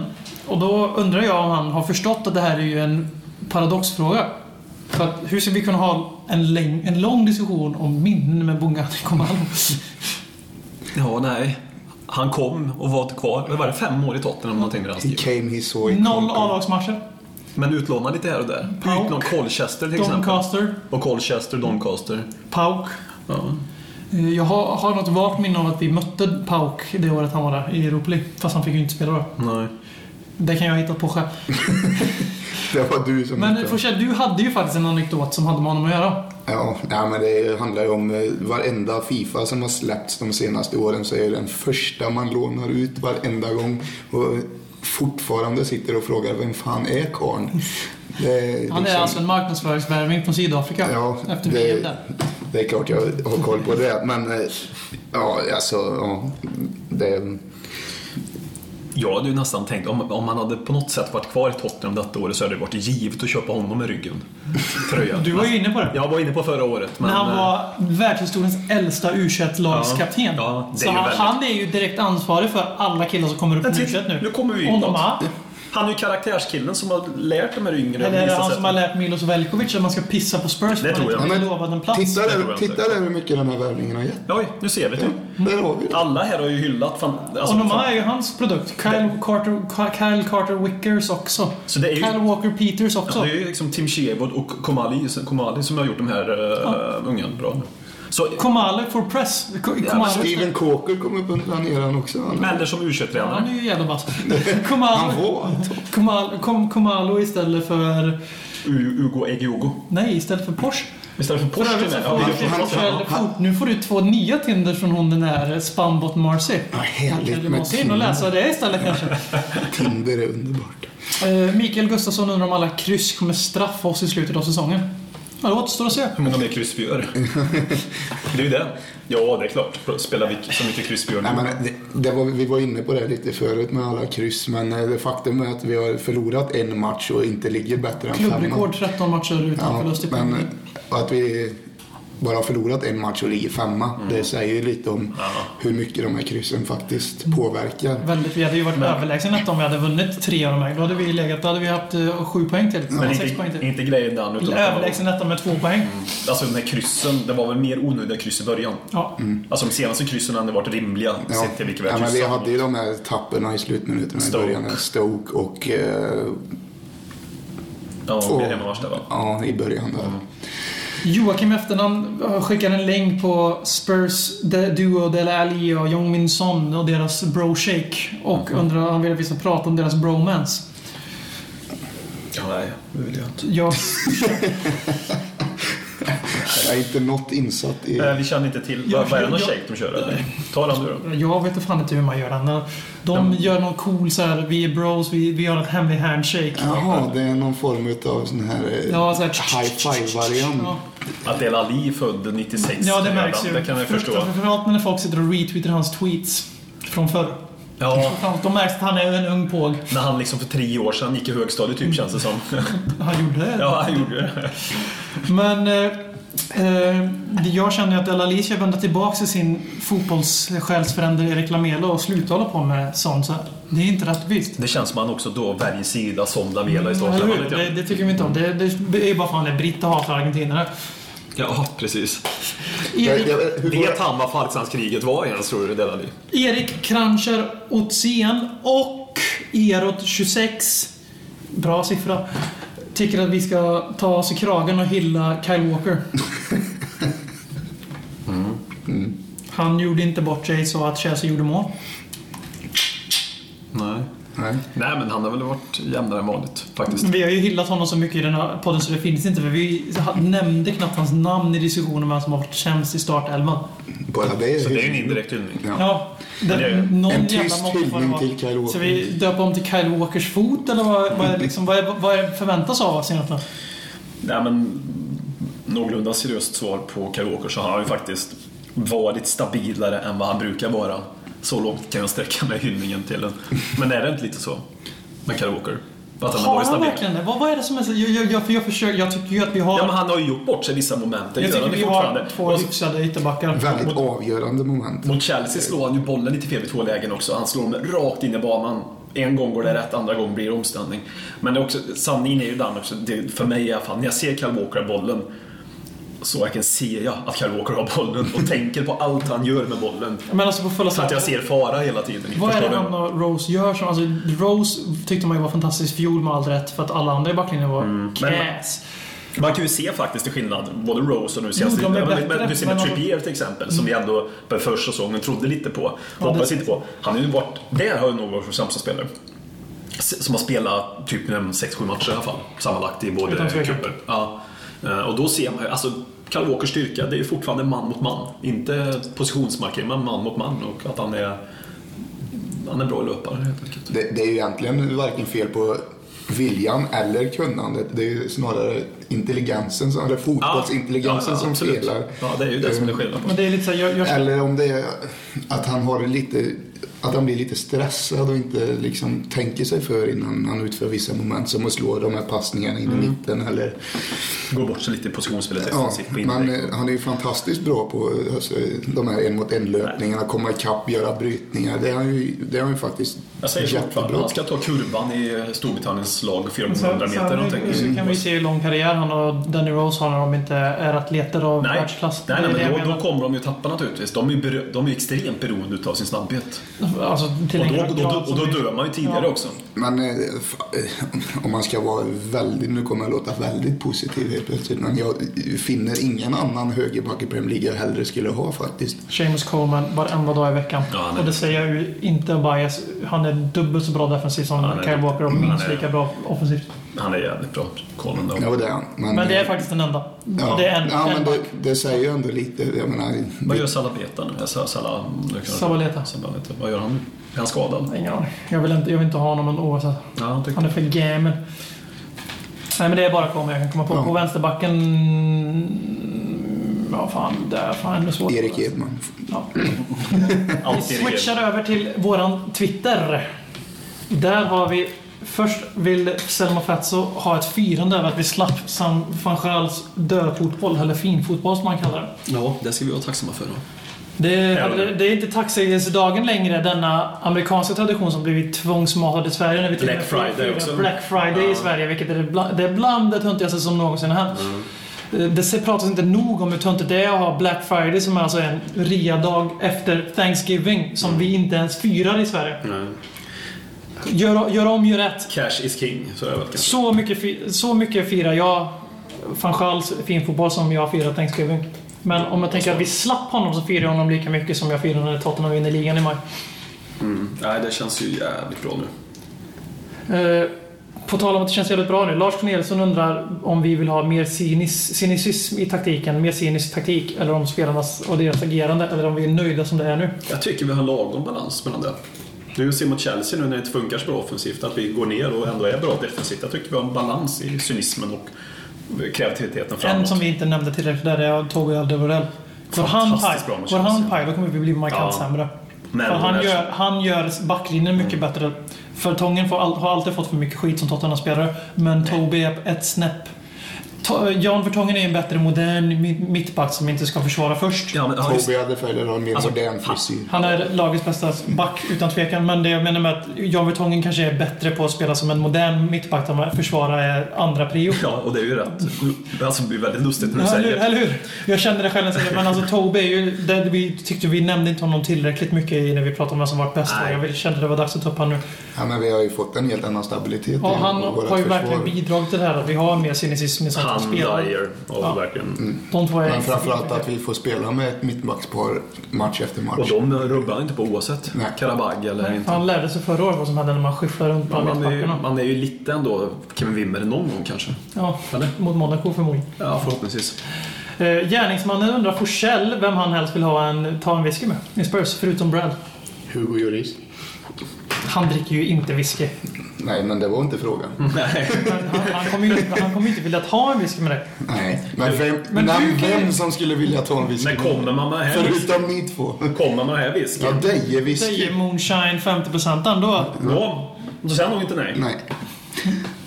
Och då undrar jag om han har förstått att det här är ju en paradoxfråga. För att hur ska vi kunna ha en, läng, en lång diskussion om minnen med Bongani Komala?
Ja, nej. Han kom och var kvar. Det var det fem år i Tottenham någonting med
He
hans
came, he saw,
Mm.
he
Noll
conquered.
A-lagsmatcher.
Men utlånad lite här och där.
Pauk.
Ut någon Colchester till exempel.
Doncaster.
Och Colchester, Doncaster.
Pauk.
Ja.
Eh, Jag har, har något vagt minne av att vi mötte Pauk det året han var där i Europa League. Fast han fick ju inte spela då.
Nej.
Det kan jag ha hittat på själv.
Mm,
Det var du som
Men eh,
hittade.
Forsell, du hade ju faktiskt en anekdot som hade med honom att göra.
Ja, nej, men det handlar ju om eh, varenda Fifa som har släppts de senaste åren så är den första man lånar ut varenda gång och eh, fortfarande sitter och frågar vem fan är karln? Det är
Han är
liksom-
alltså en marknadsföringsvärvning från Sydafrika.
Ja,
efter VM
det,
där.
det är klart jag har koll på det. Men eh, ja, alltså, ja, det,
Jag hade ju nästan tänkt, om, om han hade på något sätt varit kvar i Tottenham detta året så hade det varit givet att köpa honom med ryggen. Tröja.
Du var ju inne på det.
Jag var inne på förra året. Men,
När han
eh,
var världshistoriens äldsta u lagskapten
Ja, ja, det är
Så
ju
han,
väldigt-
han är ju direkt ansvarig för alla killar som kommer upp
Men
i u
titta,
nu.
nu kommer vi in på
Onoma.
något. Han är ju karaktärskillen som har lärt de här yngre
Eller är det
vissa
han
sätt.
som har lärt Milos Veljkovic att man ska pissa på Spurs? för
Det
man
tror jag.
inte
Ja,
blir
men
lovad en plats.
titta,
det tror
där,
jag
titta
inte.
där hur mycket den här värvningen har gett.
Oj, nu ser vi det.
Där har vi det.
Alla här har ju hyllat. Fan, alltså,
Onoma
fan.
är ju hans produkt. Kyle Carter, Kyle Carter Wickers också.
Så det är ju-
Kyle Walker Peters också.
Det är ju liksom Tim Sherwood och Komali, Komali som har gjort de här uh, ungen bra. Så,
Komale for press. Ko- Komale.
Steven Coker kom upp under planeringen också. Han,
eller som u
Han
tränare
är ju jävla bass.
han
Komalo,
var
Komal, kom, Komalo istället för...
Ugo Egiogo.
Nej, istället för Porsche.
Istället för
För
Porsche
övrigt så
med.
får
Ja,
vi
det är
Kjell
klart.
Fort- Nu får du två nya Tinder från hon den där Spambot Marcy.
Ja, härligt
Kanske Du
med
måste in och läsa det istället kanske.
Tinder är underbart.
Eh, Mikael Gustafsson undrar om alla kryss kommer straffa oss i slutet av säsongen. Ja, det återstår att se.
Hur många mer kryss vi gör. det är ju det. Ja, det är klart. Spelar vi så mycket kryss vi gör nu.
Nej, men det, det var, vi var inne på det lite förut med alla kryss, men eh, det faktum är att vi har förlorat en match och inte ligger bättre än femma.
Klubbrekord 13 matcher utan
Ja,
förlust i
men
poäng.
och att vi bara har förlorat en match och ligger femma.
Mm.
Det säger ju lite om hur mycket de här kryssen faktiskt påverkar.
Väldigt, vi hade ju varit överlägsna om vi hade vunnit tre av de här. Då hade vi legat, då hade vi haft eh, sju poäng till.
Men
sex poäng
inte,
till.
inte grejen den. Utan att det var-
Överlägsna om med två poäng.
Alltså den här kryssen, det var väl mer onödiga kryss i början.
Ja.
Mm.
Alltså de senaste kryssen hade varit rimliga sett till vilka vi
ja,
har
men vi
kryssat.
hade ju de här tapperna i slutminuterna
Stoke.
i början. Stoke och eh,
Ja, det är hemma värst där va?
ja, i början där.
Mm.
Joakim i efternamn skickar en länk på Spurs de Duo Dele Alli och Jong Min Son och deras bro shake. Och
Mm.
undrar han vill att vi ska prata om deras bromance.
Ja, nej, det vill jag inte.
Jag,
Jag är inte något insatt i...
Eh,
Nej, Eh, vi känner inte till.
Ja,
Vad vad är det någon
jag-
shake de kör eller? Ta den du då.
jag vet fan inte hur man gör den. De gör någon cool så här, vi är bros, vi, vi gör en hemlig handshake.
Jaha, det är någon form av sån här eh,
Ja, så här,
high five-variant.
Ja.
Att El Ali född 96
Ja, det
redan,
märks ju.
Det kan jag förstå.
Framförallt när folk sitter och retweetar hans tweets från förr.
Ja,
Framförallt, de märks att han är en ung påg.
när han liksom för tre år sedan gick i högstadiet typ känns det som.
Han gjorde det.
Ja, han gjorde det.
Men eh, eh, jag känner ju att Ella Lee ska vända tillbaka till sin fotbollssjälsförändrade Erik Lamela och sluta hålla på med sånt. Så här. det är inte rättvist.
Det känns som han också då väljer sida som Lamela i
Mm, Eller
startelvan.
hur?
lite
Det,
grann.
det tycker vi inte om. Det, det är bara för att han är britt och hatar argentinare.
Ja, precis.
Jag-
Erik,
jag- Eh, hur går-
Vet han vad Falklandskriget var ens tror du, Delali?
Erik Kranjčar Otsien och Erot26, bra siffra, tycker att vi ska ta oss i kragen och hylla Kyle Walker. Han gjorde inte bort sig så att Chelsea gjorde mål.
Nej.
Nej.
Nej, men han har väl varit jämnare än vanligt
Mm.
faktiskt.
Vi har ju hyllat honom så mycket i den här podden så det finns inte för vi nämnde knappt hans namn i diskussionen om vem som har varit sämst i startelvan.
Bara det är
Så det är ju en indirekt hyllning.
Ja, det,
det är ju
någon
en
jävla
tyst
måtta får det
hyllning
vara.
till Kyle Walker.
Så vi döper om till Kyle Walkers fot eller vad, vad, är, liksom, vad, är, vad är förväntas av oss egentligen?
Nej, men någorlunda seriöst svar på Kyle Walker så han har ju faktiskt varit stabilare än vad han brukar vara. Så långt kan jag sträcka mig i hyllningen till den. Men är det inte lite så med Kyle Walker? Att han har
Har han
varit stabil?
verkligen det? Vad, vad är det som är så? Jag, jag, jag, för jag, försöker, jag tycker ju att vi har...
Ja, men han har ju gjort bort sig i vissa moment. Det
jag
gör
tycker
han
vi
ju
har
fortfarande.
två
Och så-
hyfsade ytterbackar.
väldigt avgörande moment.
Mot Chelsea slår han ju bollen lite fel vid två lägen också. Han slår dem rakt in i banan. En gång går det rätt, andra gången blir det omställning. Men det är också, sanningen är ju den också, det, för mig i alla fall, när jag ser Kyle Walker ha bollen så verkligen ser jag att Kyle Walker har bollen och tänker på allt han gör med bollen.
Men alltså på fulla
Så att jag ser fara hela tiden.
Vad är
Förstår
det
du?
han och Rose gör som... Alltså Rose tyckte man ju var fantastisk fjol med all rätt för att alla andra i backlinjen var
Mm,
kräs.
Man kan ju se faktiskt till skillnad, både Rose och nu senast.
Mm, de är
men-
bättre,
men, du ser
men
med
de- Mm.
Trippier till exempel, som vi ändå på första säsongen trodde lite på.
Ja,
hoppades
det-
inte på. Han har ju varit, där har ju nog varit vår sämsta spelare. S- Som har spelat typ 6-7 matcher i alla fall, sammanlagt i både
Utan tvekan.
cuper. Ja. Eh, Och då ser man ju, alltså Kalle Walkers styrka, det är ju fortfarande man mot man. Inte positionsmarkering, men man mot man. Och att han är, han är bra löpare helt enkelt.
Det, det är ju egentligen varken fel på viljan eller kunnandet. Det är ju snarare intelligensen, som- eller fotbollsintelligensen
Ja, ja,
som
absolut.
spelar. Mm.
Ja, det är ju det som det är skillnad på.
Men det är lite såhär... Jag, jag,
Eller om det är att han har lite att han blir lite stressad och inte liksom tänker sig för innan han utför vissa moment som att slå de här passningarna in i mitten eller
Går bort sig lite i positionsspelet
Ja,
defensivt på
men
inlägg.
eh, han är ju fantastiskt bra på eh, alltså, de här en mot en löpningarna, komma ikapp, göra brytningar. Det är han ju, det är han ju faktiskt
Jag säger så fortfarande, han ska ta kurvan i eh, Storbritanniens lag 400 meter
så,
någonting.
så, så kan vi se hur lång karriär han och Danny Rose har när de inte är atleter av
Nej,
världsklass.
nej,
Det är
nej
det jag
men då,
menar.
då kommer de ju tappa naturligtvis. De är, ju berö- de är ju extremt beroende utav sin snabbhet.
Alltså, till
Och
en
då,
grad
och då,
som
och då
vi-
dör man ju tidigare
Ja.
också.
Men eh, f- eh, om man ska vara väldigt, nu kommer jag låta väldigt positiv helt plötsligt, men jag finner ingen annan högerback i Premier League jag hellre skulle ha faktiskt.
Seamus Coleman varenda dag i veckan.
Ja, han är-
och det säger jag ju inte bias. Han är dubbelt så bra defensivt som
Han är
Kyle
duktig.
Walker och
Mm,
minst
han är-
lika bra offensivt.
Han är jävligt bra, Colin då.
Ja, det är han.
Men det är
eh,
faktiskt den enda.
ja.
Det är en,
ja,
en
men
back.
det, det säger ju ändå lite. Jag menar,
Vad gör Salabeta nu? Alltså, Sala,
Sabaleta.
Sabaleta. Vad gör han nu? Är han skadad?
Ingen aning. Jag vill inte, jag vill inte ha honom ändå. Så. att-
Ja, han tyckte...
Han är för gamen. Nej men det är bara komma jag kan komma på.
Ja.
På vänsterbacken... Ja fan, det är fan ännu svårt.
Erik Edman.
Ja.
Alltid
Switchar över till våran Twitter. Där har vi Först vill Selma Fatso ha ett firande över att vi slapp Sam van Gaals döfotboll, eller finfotboll som man kallar det.
Ja, det ska vi vara tacksamma för. Då.
Det,
Ja.
hade- det är inte taxidagen längre, denna amerikanska tradition som blivit tvångsmatad i Sverige. När vi till och med
Black Friday
firar
också.
Black Friday i Sverige, vilket är det bland det, är bland det töntigaste som någonsin har hänt. Eh,
Mm.
Det se- pratas inte nog om hur töntigt det är att ha Black Friday som är alltså en rea-dag efter Thanksgiving
Mm.
som vi inte ens firar i Sverige. Gör, gör om, gör rätt.
Cash is king, så är det väl kanske.
Så mycket, fi- så mycket firar jag van Schals finfotboll som jag firar Thanksgiving. Men om jag tänker att vi slapp honom så firar jag honom lika mycket som jag firade när Tottenham vinner ligan i maj.
Nej, det känns ju jävligt bra nu.
Eh, på tal om att det känns jävligt bra nu. Lars Corneliusson undrar om vi vill ha mer cynis, cynicism i taktiken, mer cynisk taktik, eller om spelarnas och deras agerande, eller om vi är nöjda som det är nu.
Jag tycker vi har lagom balans mellan det. Nu ser mot Chelsea nu när det inte funkar så bra offensivt, att vi går ner och ändå är bra defensivt. Jag tycker vi har en balans i cynismen och kreativiteten framåt.
En som vi inte nämnde tillräckligt där är Toby Alderweireld. Går han paj,
Fantastiskt bra mot
går han
Chelsea.
paj, då kommer vi bli markant
Ja.
sämre.
Men Mm.
För han,
den här-
gör, han gör backlinjen mycket bättre. Förtongen får all, har alltid fått för mycket skit som Tottenham-spelare, men Toby är ett snäpp. To- Jan Vertongen är en bättre modern mi- mittback som inte ska försvara först.
Ja, men, ja, just,
Toby hade följt en
Alltså,
mer modern frisyr.
Han är lagets bästa back utan tvekan, men det jag menar med att Jan Vertongen kanske är bättre på att spela som en modern mittback där man försvarar är andra prio.
ja, och det är ju rätt. Alltså, det blir väldigt lustigt när du
Ja, eller,
säger
eller hur? Jag kände det själv när jag säger det, men alltså Tobbe är ju... Det, vi tyckte vi nämnde inte honom tillräckligt mycket i när vi pratade om vem som varit bäst.
Nej.
Jag vill- kände det var dags att ta upp honom nu.
Ja, men vi har ju fått en helt annan stabilitet
Ja,
i
han
vårt
har ju verkligen
försvar.
bidragit till det här att vi har mer cynism i sånt som
Han
spelar.
Dyer. Och,
Ja.
verkligen.
De två är...
Men framförallt att vi får spela med ett mittbackspar match efter
och
match.
de rubbar inte på oavsett.
Nej.
Karabag eller inte.
Han lärde sig förra året vad som hände när man skyfflar runt
Ja,
bland
man, är ju,
mittbackarna.
man är ju lite ändå Kevin Wimmer någon gång kanske.
Ja,
Eller?
mot Monaco förmodligen.
Ja, förhoppningsvis.
Eh, gärningsmannen undrar Forsell vem han helst vill ha en, ta en whisky med i Spurs, förutom Brad.
Hugo Lloris.
Han dricker ju inte whisky.
Nej, men det var inte frågan.
Mm.
Han, han, han kommer ju inte, han kommer ju inte vilja ta en whisky med dig.
Nej, men vem,
Men
namn-
du kan ju-
vem som skulle vilja ta en whisky?
Men kommer man med den här whiskyn?
Förutom ni två.
Kommer man med den här
Ja,
whiskyn?
Deje
Säger
whisky.
Moonshine 50% ändå.
Ja. Då säger han nog inte nej.
Nej,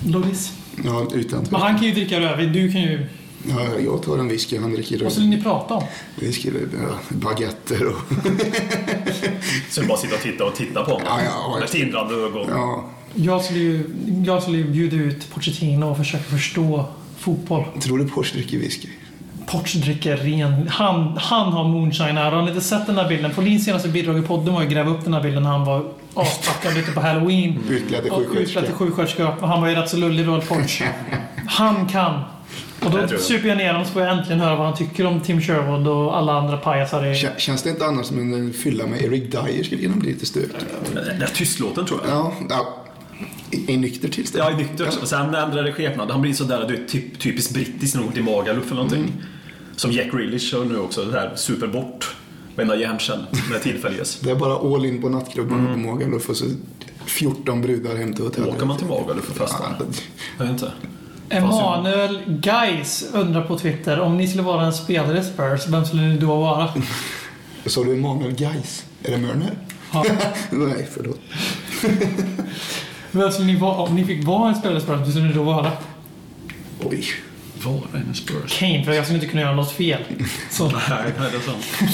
Lovis.
ja, utan
Men han kan ju dricka rödvin, du kan ju...
ja, Jag tar en whisky, han dricker
Vad
röd.
skulle ni prata om?
Whisky, ja, baguetter och...
Så bara sitta och titta och titta på honom.
Ja, ja, ja.
Med tindrande ögon.
Ja,
Jag skulle ju, jag skulle ju bjuda ut Pochettino och försöka förstå fotboll.
tror du Porsche dricker whisky?
Poch dricker ren... Han, han har moonshine här. Har ni inte sett den här bilden? Paulins senaste bidrag i podden var ju att gräva upp den här bilden när han var aspackad ute på halloween.
Utklädd till
Och utklädd till
sjuksköterska.
sjuksköterska. Och han var ju rätt så lullig då, Poch. Han kan. Och då
Jag tror det.
super jag ner honom så får jag äntligen höra vad han tycker om Tim Sherwood och alla andra pajasar i...
Kä- Känns det inte annars som en fylla med Eric Dyer skulle kunna bli lite stökig?
Den där tystlåten tror jag.
Ja, ja. I, i nykter tillstånd.
Ja, i nykter också. Sen ändrar det skepnad. Han blir sådär, du vet, typ, typiskt brittisk när de går till Magaluf eller någonting.
Mm.
Som Jack Grealish kör nu också, det där super bort. Varenda hjärncell när tillfälle ges.
Det är bara all in på nattklubben
Mm.
på Magaluf och så 14 brudar hem till hotellet.
Åker man till Magaluf för festan? Jag vet inte.
Emanuel Geis undrar på Twitter om ni skulle vara en spelare i Spurs, vem skulle ni då vara?
Sa du Emanuel Geis? Är det Mörner?
Ja.
Nej, förlåt.
Vem skulle ni vara om ni fick vara en spelare i Spurs? Vem skulle ni då vara?
Oj.
Vara en Spurs?
Kane, för jag skulle inte kunna göra något fel. Så,
Nej, nej, det är sant.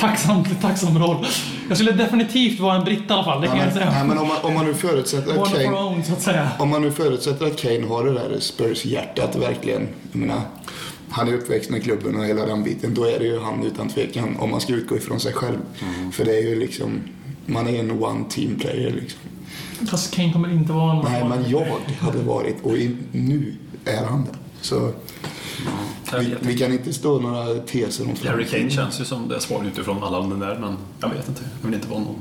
tacksam, tacksam roll. Jag skulle definitivt vara en britt i alla fall, det kan jag
Nej,
säga.
men om man, om man nu förutsätter att
One of our
Kane...
own, så att säga.
Om man nu förutsätter att Kane har det där Spurs-hjärtat verkligen. Jag menar, han är uppväxt med klubben och hela den biten. Då är det ju han utan tvekan. Om man ska utgå ifrån sig själv. För det är ju liksom... Man är en one team player liksom.
Fast Kane kommer inte vara en...
Nej, men jag hade varit och i- nu är han det. Så
Jag
vi,
vet inte.
vi kan inte stå några teser om
Harry Kane
framtiden.
känns ju som det svar utifrån alla de där, men jag vet inte. Jag vill inte vara någon.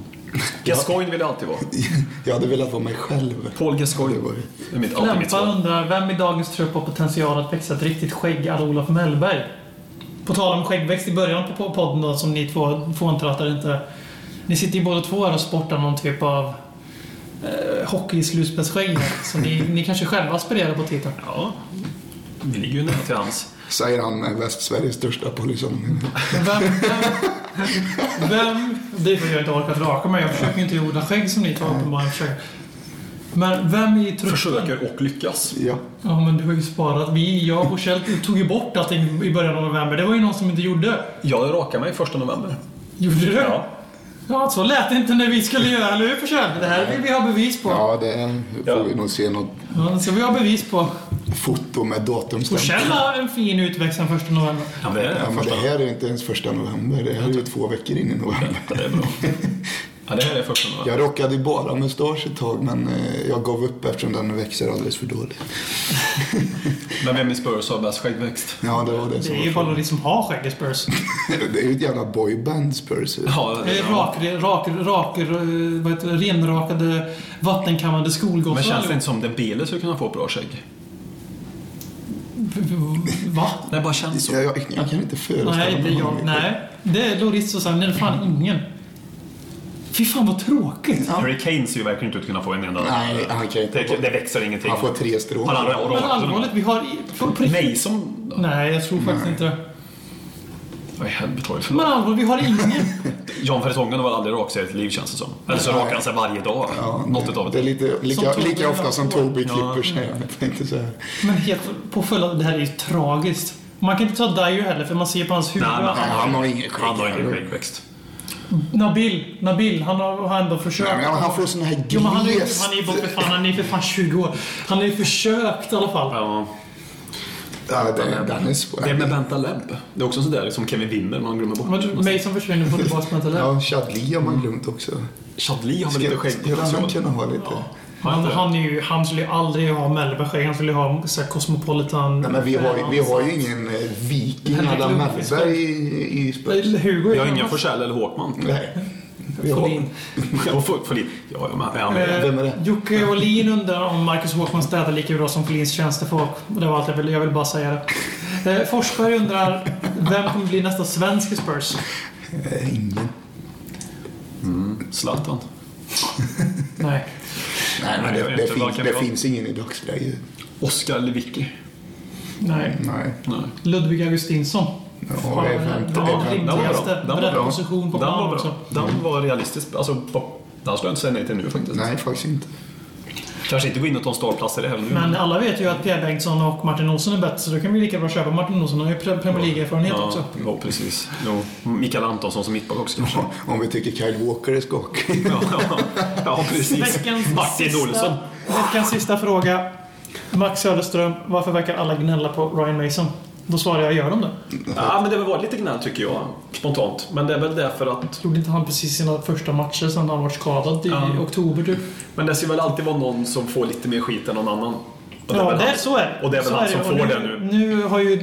Gascoigne vill jag alltid vara.
Jag hade velat vara mig själv.
Paul Gascoigne.
Det var ju-
Det är mitt, alltid mitt
Lämpar
svar.
undrar, vem i dagens trupp har potential att växa ett riktigt skägg alla Olof Mellberg? På tal om skäggväxt i början på podden då, som ni två fåntrattar inte... Ni sitter ju båda två här och sportar någon typ av eh, hockeyslutspelsskägg här, Så ni, ni kanske själva aspirerar på titeln.
Ja, vi ligger ju nära till hans.
Säger han med Västsveriges största polisong.
Men Vem, vem, vem... Det är för att jag inte orkat raka mig. Jag försöker ju inte odla skägg som ni två uppenbarligen försöker. Men vem i truppen...
Försöker och lyckas.
Ja.
Ja, men du har ju sparat. Vi, jag och Kjell tog ju bort allting i början av november. Det var ju någon som inte gjorde.
Jag rakar mig första november.
Gjorde du?
Ja.
Ja, så lät det inte när vi skulle göra, eller hur för Kjell? Det här vill vi ha bevis på. Ja.
Ja, det får
Ja.
vi nog se något
det ska vi ha bevis på.
foto med
Och
datumstämpel.
Kjell har en fin utväxt den första november.
Ja, det är
Ja,
det.
men
Första.
det här är ju inte ens första november. Det här är ju två veckor in i november.
Det är bra. Ja, det här är första november.
Jag rockade ju bara mustasch ett tag, men eh, jag gav upp eftersom den växer alldeles för dåligt.
Men vem i Spurs har bäst skäggväxt?
Ja, det var det
Det
som
är ju
var
bara de som har skägg i Spurs.
frågan. Det är ju ett jävla boyband, Spurs.
Ja,
Det är Rak, rak, rak, eh, vad heter det, renrakade, vattenkammade
Men
skolgossar.
känns det inte som Dembele skulle kunna få bra skägg?
Va?
Nej, bara känns så.
Jag, jag, jag kan inte
Nej,
föreställa
inte
mig
jag.
någon-
Nej. Det är Loris och sen är det fan ingen. Fy fan vad tråkigt.
Harry Kane ser ju verkligen inte ut att kunna få en enda.
Nej, han kan inte.
Det, det växer ingenting.
Han får tre strån.
Han har-
Men allvarligt, vi har... i- på- på riktigt-
Nej, som...
Nej, jag tror faktiskt inte det.
Vad i helvete var det för
Men allvarligt, vi har ingen.
Jan Fertongen har väl aldrig rakat sig i ett liv känns det som. Eller så rakar han sig varje dag.
Ja,
Något utav
det är
det.
lite, lika,
Toby
lika ofta som
Larsson.
Toby klipper sig. Jag tänkte så här.
Men helt påföljande, det här är ju tragiskt. Man kan inte ta Dyer heller för man ser på hans huvud.
Nej, men han,
han har ingen skägg.
Han har ingen skäggväxt.
Nabil, Nabil, han har han har ändå försökt.
Nej, men han får sån här
Jo, men han är ju
glest...
han är ju bara för fan, han är för fan 20 år. Han har ju försökt i alla fall.
Ja.
Ja, det, den är svår.
Det är med Benta Leb. Det är också sådär som Kevin Wimmer man glömmer bort.
Men mig som försvinner får du bara smälla det.
Ja, Chadli har man glömt också.
Chadli har väl lite
Ska- Skulle han
skäggpotential?
kunna ha lite?
Han, han, är ju, han skulle ju aldrig ha Mellbergskägg. Han skulle ju ha så här, Cosmopolitan.
Nej, men vi har, ju- vi har ju ingen eh, viking
Henrik
Adam
Lundqvist.
Mellberg i, i Spurs.
Eller Hugo är
Vi har
ju
inga
annars-
Forsell eller Håkman.
Nej. Vi har,
Folin.
Och Fo- Folin. Ja, ja, men han är med.
Eh,
Vem är det?
Jocke Åhlin undrar om Marcus Håkman städar lika bra som Folins tjänstefolk. Och Det var allt jag ville. Jag ville bara säga det. Eh, Forsberg undrar vem kommer bli nästa svensk i Spurs?
eh, ingen.
Zlatan.
Nej.
Nej, men
Nej, jag
det,
vet
det,
inte, vad
finns,
kan
det
vi ha?
finns ingen i dagsläget.
Oskar Lewicki.
Nej.
Nej.
Nej.
Ludvig Augustinsson.
Ja, det är
den
fem- det är fem-
rimligaste.
Den var
Rätt
bra.
position på
Den
plan
var
också.
bra. Den var realistisk. Alltså, på- den skulle jag inte säga nej till nu faktiskt.
Nej, faktiskt inte.
Kanske inte gå in och ta en startplats i det här nu.
Men alla vet ju att Pierre Bengtsson och Martin Olsson är bättre, så då kan vi lika bra köpa Martin Olsson. Han har ju pre- Premier League-erfarenhet
ja,
också.
Ja, precis. Jo. Mikael Antonsson som mittback också kanske.
Om vi tycker Kyle Walker är skakig.
ja, ja, ja, precis.
Veckans
Martin
sista,
Olsson.
Veckans sista fråga. Max Söderström, varför verkar alla gnälla på Ryan Mason? Då svarar jag, gör de det?
Ja, men det har väl varit lite gnäll tycker jag. Spontant. Men det är väl därför att...
Gjorde inte han precis sina första matcher sedan han var skadad i
Ja.
oktober typ?
Men det ska väl alltid vara någon som får lite mer skit än någon annan. Och är
Ja,
väl
det,
han-
så är det.
Och det är väl
Så
han
det.
som
Och
får
nu,
det nu.
Nu har ju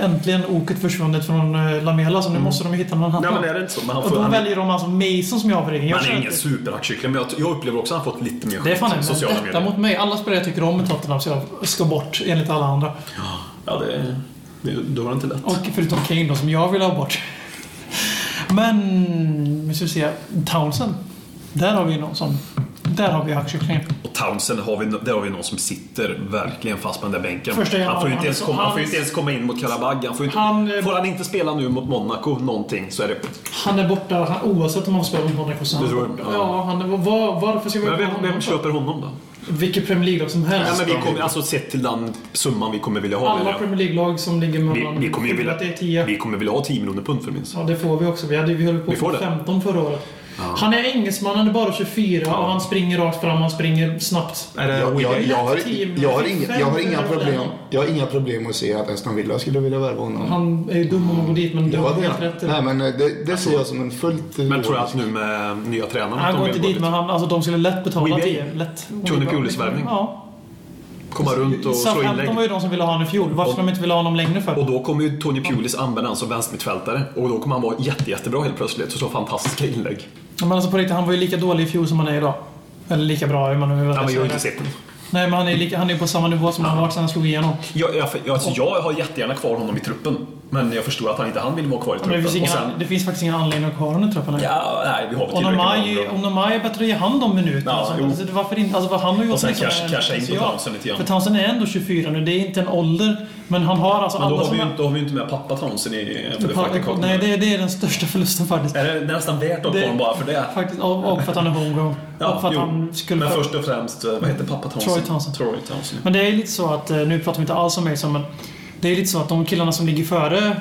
äntligen oket försvunnit från eh, Lamela, så nu måste de ju hitta någon annan.
Mm. Nej, men är det inte så? Men han
och
får...
då
Han,
väljer de alltså Mason som jag har för egen. Jag
han är
känner
ingen
att-
superaktkyckling, men jag, jag upplever också att han fått lite mer skit.
Det är fan
i
en
sociala
detta
medier.
mot mig. Alla spelare jag tycker om i Tottenham så jag ska bort enligt alla andra.
Ja, det, är- det, då var det inte lätt.
Och förutom Kane då, som jag vill ha bort. Men, vi ska se. Townsend. Där har vi någon som... Där har vi aktieklingen.
Och Townsend, har vi, där har vi någon som sitter verkligen fast på den där bänken.
Första
han, får ju
januari,
inte ens
han-
komma, han får ju
han-
inte ens komma in mot Karabag. Han får, ju inte,
Han, eh,
får han inte spela nu mot Monaco någonting så är det...
Han är borta han, oavsett om han spelar mot Monaco. så är han
Du tror-
borta.
ja.
Ja, han är, var, varför ska vi
Men
ha
vem,
honom
vem
då?
köper honom då?
Vilket Premier League-lag som helst.
Ja, men vi kommer, alltså sett till den summan vi kommer vilja ha.
alla
menar jag.
Premier League-lag som ligger mellan...
vi, vi, kommer ju vilja,
att det är 10.
vi kommer vilja ha 10 miljoner pund för minst.
Ja, det får vi också. Vi, hade, vi höll på
Vi får
med
det.
15 förra året. Han är engelsman, han är bara 24 och han springer rakt fram, han springer snabbt.
Är det
Jag, jag, jag, har, jag, har inga, jag, har inga
Fem,
problem,
fem.
jag har inga problem att se att Aston Villa skulle vilja värva honom.
Han är ju dum om att gå dit, men du
Det
har
var
helt
det.
rätt.
Nej, men eh, det, det ser jag som en fullt... eh,
Men tror jag att nu med nya tränaren... att
Han
de
går
vill
inte
gå
dit,
dit.
men han, alltså, de skulle lätt betala
Weebay.
10. Lätt.
Tony Pulis värvning.
Ja.
Komma runt och slå inlägg.
Southampton var ju de som ville ha honom i fjol. Varför
Och-
de inte ville ha honom längre för?
Och då kommer ju Tony Pulis använda honom som vänstermittfältare. Och då kommer han vara jätte, jättebra helt plötsligt och slå fantastiska inlägg.
Men alltså på riktigt, han var ju lika dålig i fjol som han är idag. Eller lika bra, hur man nu vill
Ja, men jag har ju inte
säga.
sett den.
Nej, men han är ju lika, han är på samma nivå som han varit sen han slog igenom.
Jag, jag, jag, alltså, jag har jättegärna kvar honom i truppen. Men jag förstod att han inte han ville vara kvar i
Men det,
truppen.
finns
Och
inga,
sen,
det finns faktiskt ingen anledning att ha honom i truppen längre.
ja, nej, vi har väl tillräckligt
Onamai,
många bra.
Onamai är bättre att ge hand om minuter.
Ja,
alltså,
jo.
alltså, varför inte? Alltså, vad han har gjort
Och sen
med sådana
cash-
här
casha in på
potential.
Townsend lite grann.
För Townsend är ändå 24 nu. Det är inte en ålder. Men han har alltså
Men då
alla
har,
som
vi ju,
har-
inte- då har vi ju inte med pappa Townsend i för det faktiskt
Nej, det, det är den största förlusten faktiskt.
Är det nästan värt att
Det-
ta honom bara för det?
faktiskt och, och för att han är homegrown. och för att
jo.
han skulle
men
få-
först och främst, eh, vad heter pappa Townsend?
Troy Townsend.
Troy Townsend.
Men det är lite så att, eh, nu pratar vi inte alls om Mason, men det är lite så att de killarna som ligger före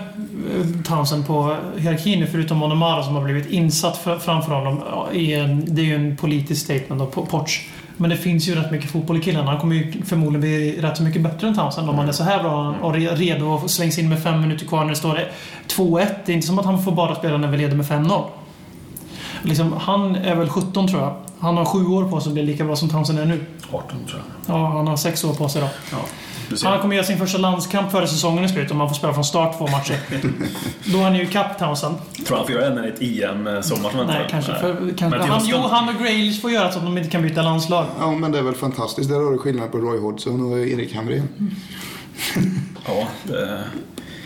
eh, Townsend på hierarkin nu, förutom Onomara som har blivit insatt fr- framför honom, ja, i en, det är ju en politisk statement av Po- Poch. Men det finns ju rätt mycket fotboll i killarna. Han kommer ju förmodligen bli rätt så mycket bättre än Townsend om han är så här bra och re- redo och slängs in med fem minuter kvar när det står 2-1. Det är inte som att han får bara spela när vi leder med 5-0. Liksom, han är väl 17 tror jag. Han har sju år på sig att bli lika bra som Townsend är nu.
18 tror jag.
Ja, han har sex år på sig då.
Ja, du ser.
Han kommer göra sin första landskamp före säsongen är slut om han får spela från start två matcher. Då är han ju kapp Townsend.
Tror han får göra en med ett E eh, EM-sommar som väntar?
Nej, kanske. För, kanske.
Men till
Han,
hösten-
jo, han och Grealish får göra så att de inte kan byta landslag.
Ja, men det är väl fantastiskt. Där har du skillnad på Roy Hodgson och Erik Hamrén.
Ja, eh, det...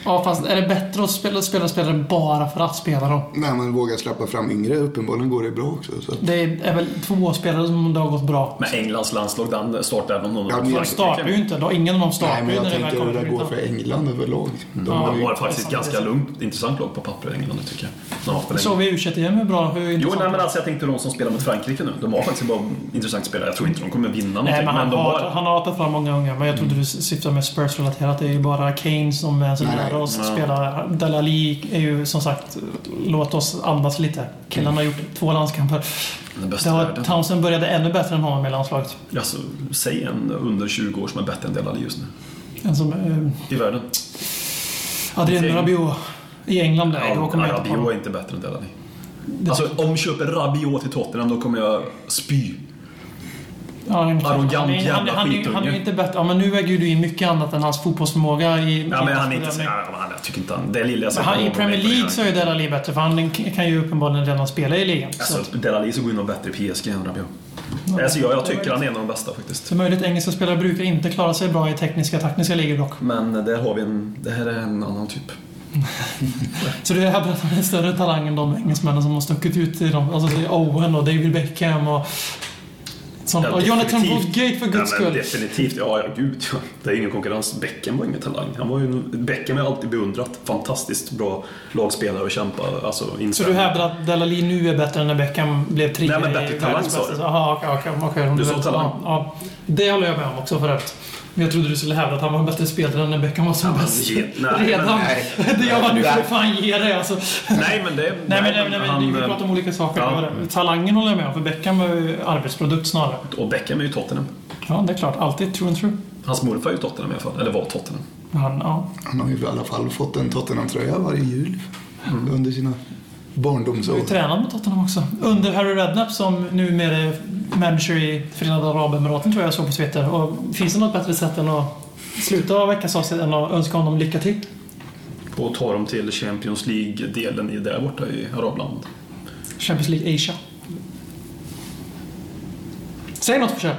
Ja, fast är det bättre att spela, spela spelare bara för att spela dem?
När man vågar släppa fram yngre, uppenbarligen går det bra också. Så. att-
Det är, är väl två spelare som det har gått bra.
Men Englands landslag, den startar även om de...
Ja, men
De
jag-
startar ju inte. Då, ingen av dem startar
Nej, men
ju
jag
när det väl
tänker hur
kommer
det
till
går
utan-
för England överlag. De
Ja.
har
De
ju,
var faktiskt ett ganska lugnt, intressant lag på papper, England, tycker jag. De har haft en-
Så vi u igen hur bra, hur
Jo,
intressant
nej,
det
men
är.
alltså jag tänkte de som spelar mot Frankrike nu. De har faktiskt bara intressant spelare. Jag tror inte de kommer vinna någonting. Mm.
Nej, men han,
de
har,
har...
han har tagit fram många unga, men jag trodde du syftade med Spurs-relaterat. Det är ju bara Kane som är så
Nej,
nära
nej.
oss spelar. Dalali är ju som sagt, låt oss andas lite. Killarna har gjort två landskamper.
Mm. Den
Det
bästa i
har,
världen.
Townsend började ännu bättre än honom i landslaget.
Alltså, säg en under 20 år som är bättre än Delali just nu.
En som, eh,
I världen.
Adrien
Okej.
Rabiot i England. Nej, då
Ja,
kommer jag inte på
Rabiot
honom.
är inte bättre än Delali. Alltså, om vi köper Rabiot till Tottenham, då kommer jag spy.
Ja, han-
Arrogant
han är- han-
jävla
han är-
skitunge.
Han är ju inte bättre. Ja, men nu väger ju du in mycket annat än hans fotbollsförmåga i...
Ja, men han är inte...
bedömning.
Ja, men jag tycker inte han... Det lilla jag
Men
sett
han,
av
I
honom
Premier League
imponerar.
så är ju Delali bättre, för han kan ju uppenbarligen redan spela i ligan. Så-
Alltså, Delali så går in och bättre i PSG än Rabiot. Alltså, jag, jag tycker han är en av de bästa faktiskt.
Så möjligt engelska spelare brukar inte klara sig bra i tekniska taktiska ligor dock.
Men eh, där har vi en... Det här är en annan typ.
Så det här berättar om en större talang än de engelsmännen som har stuckit ut i dem. Alltså det är Owen och David Beckham och... Sånt.
Ja,
och Jonathan
definitivt.
Woodgate för
Ja,
guds
men
skull.
Definitivt, ja, ja gud ja. Det är ingen konkurrens. Beckham var ingen talang. Han var ju, Beckham har jag alltid beundrat. Fantastiskt bra lagspelare och kämpa, alltså
Så du
inställning.
hävdar att Delali nu är bättre än när Beckham blev trea
Nej, men bättre
i
talang,
världens
sa
bästa-
du.
Jaha, okej, okej, okej. om
Du
du
sa
vet.
talang.
Ja, ja. Det håller jag med om också för övrigt. Men jag trodde du skulle hävda att han var en bättre spelare än när Beckham var som
Ja, men
bäst.
ge- nej,
Redan.
men
Det gör man nu för fan ge dig alltså.
Nej, men eh, det...
Nej, men, nej, men, nej, men vi pratar om olika saker.
ja.
Det var det. Talangen håller jag med om, för Beckham är ju arbetsprodukt snarare.
Och Beckham är ju Tottenham.
Ja, det är klart. Alltid true and true.
Hans morfar är ju Tottenham i alla fall. Eller var Tottenham.
Han, ja.
han har ju i alla fall fått en Tottenham-tröja varje jul under sina
Du
barndomsår.
har tränat med Tottenham också. Under Harry Redknapp som numera är manager i Förenade Arabemiraten tror jag jag såg på Twitter. Och finns det något bättre sätt än att sluta väckas av sig än att önska honom lycka till?
Och tar dem till Champions League-delen i där borta i Arabland.
Champions League Asia. Säg något för sig.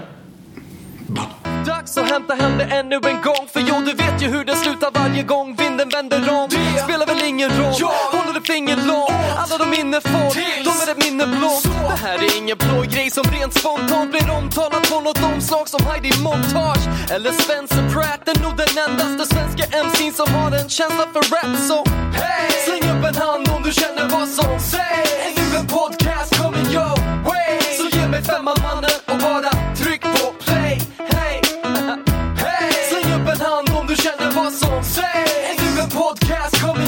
Dags att hämta hem det ännu en gång För jo, du vet ju hur det slutar varje gång vinden vänder om Spelar väl ingen roll, håller du finger långt Alla de minne får, de är ett minne blått Det här är ingen blå grej som rent spontant blir omtalat på något omslag som Heidi Montage eller Spencer Pratt Är nog den endaste svenska MC'n som har en känsla för rap så hey! Släng upp en hand om du känner vad som sägs Är nu en podcast kommer your way Så ge mig femman mannen och bara tryck på play Hey, hey. Släng upp en hand om du känner vad som sägs. Är du en podcast kommer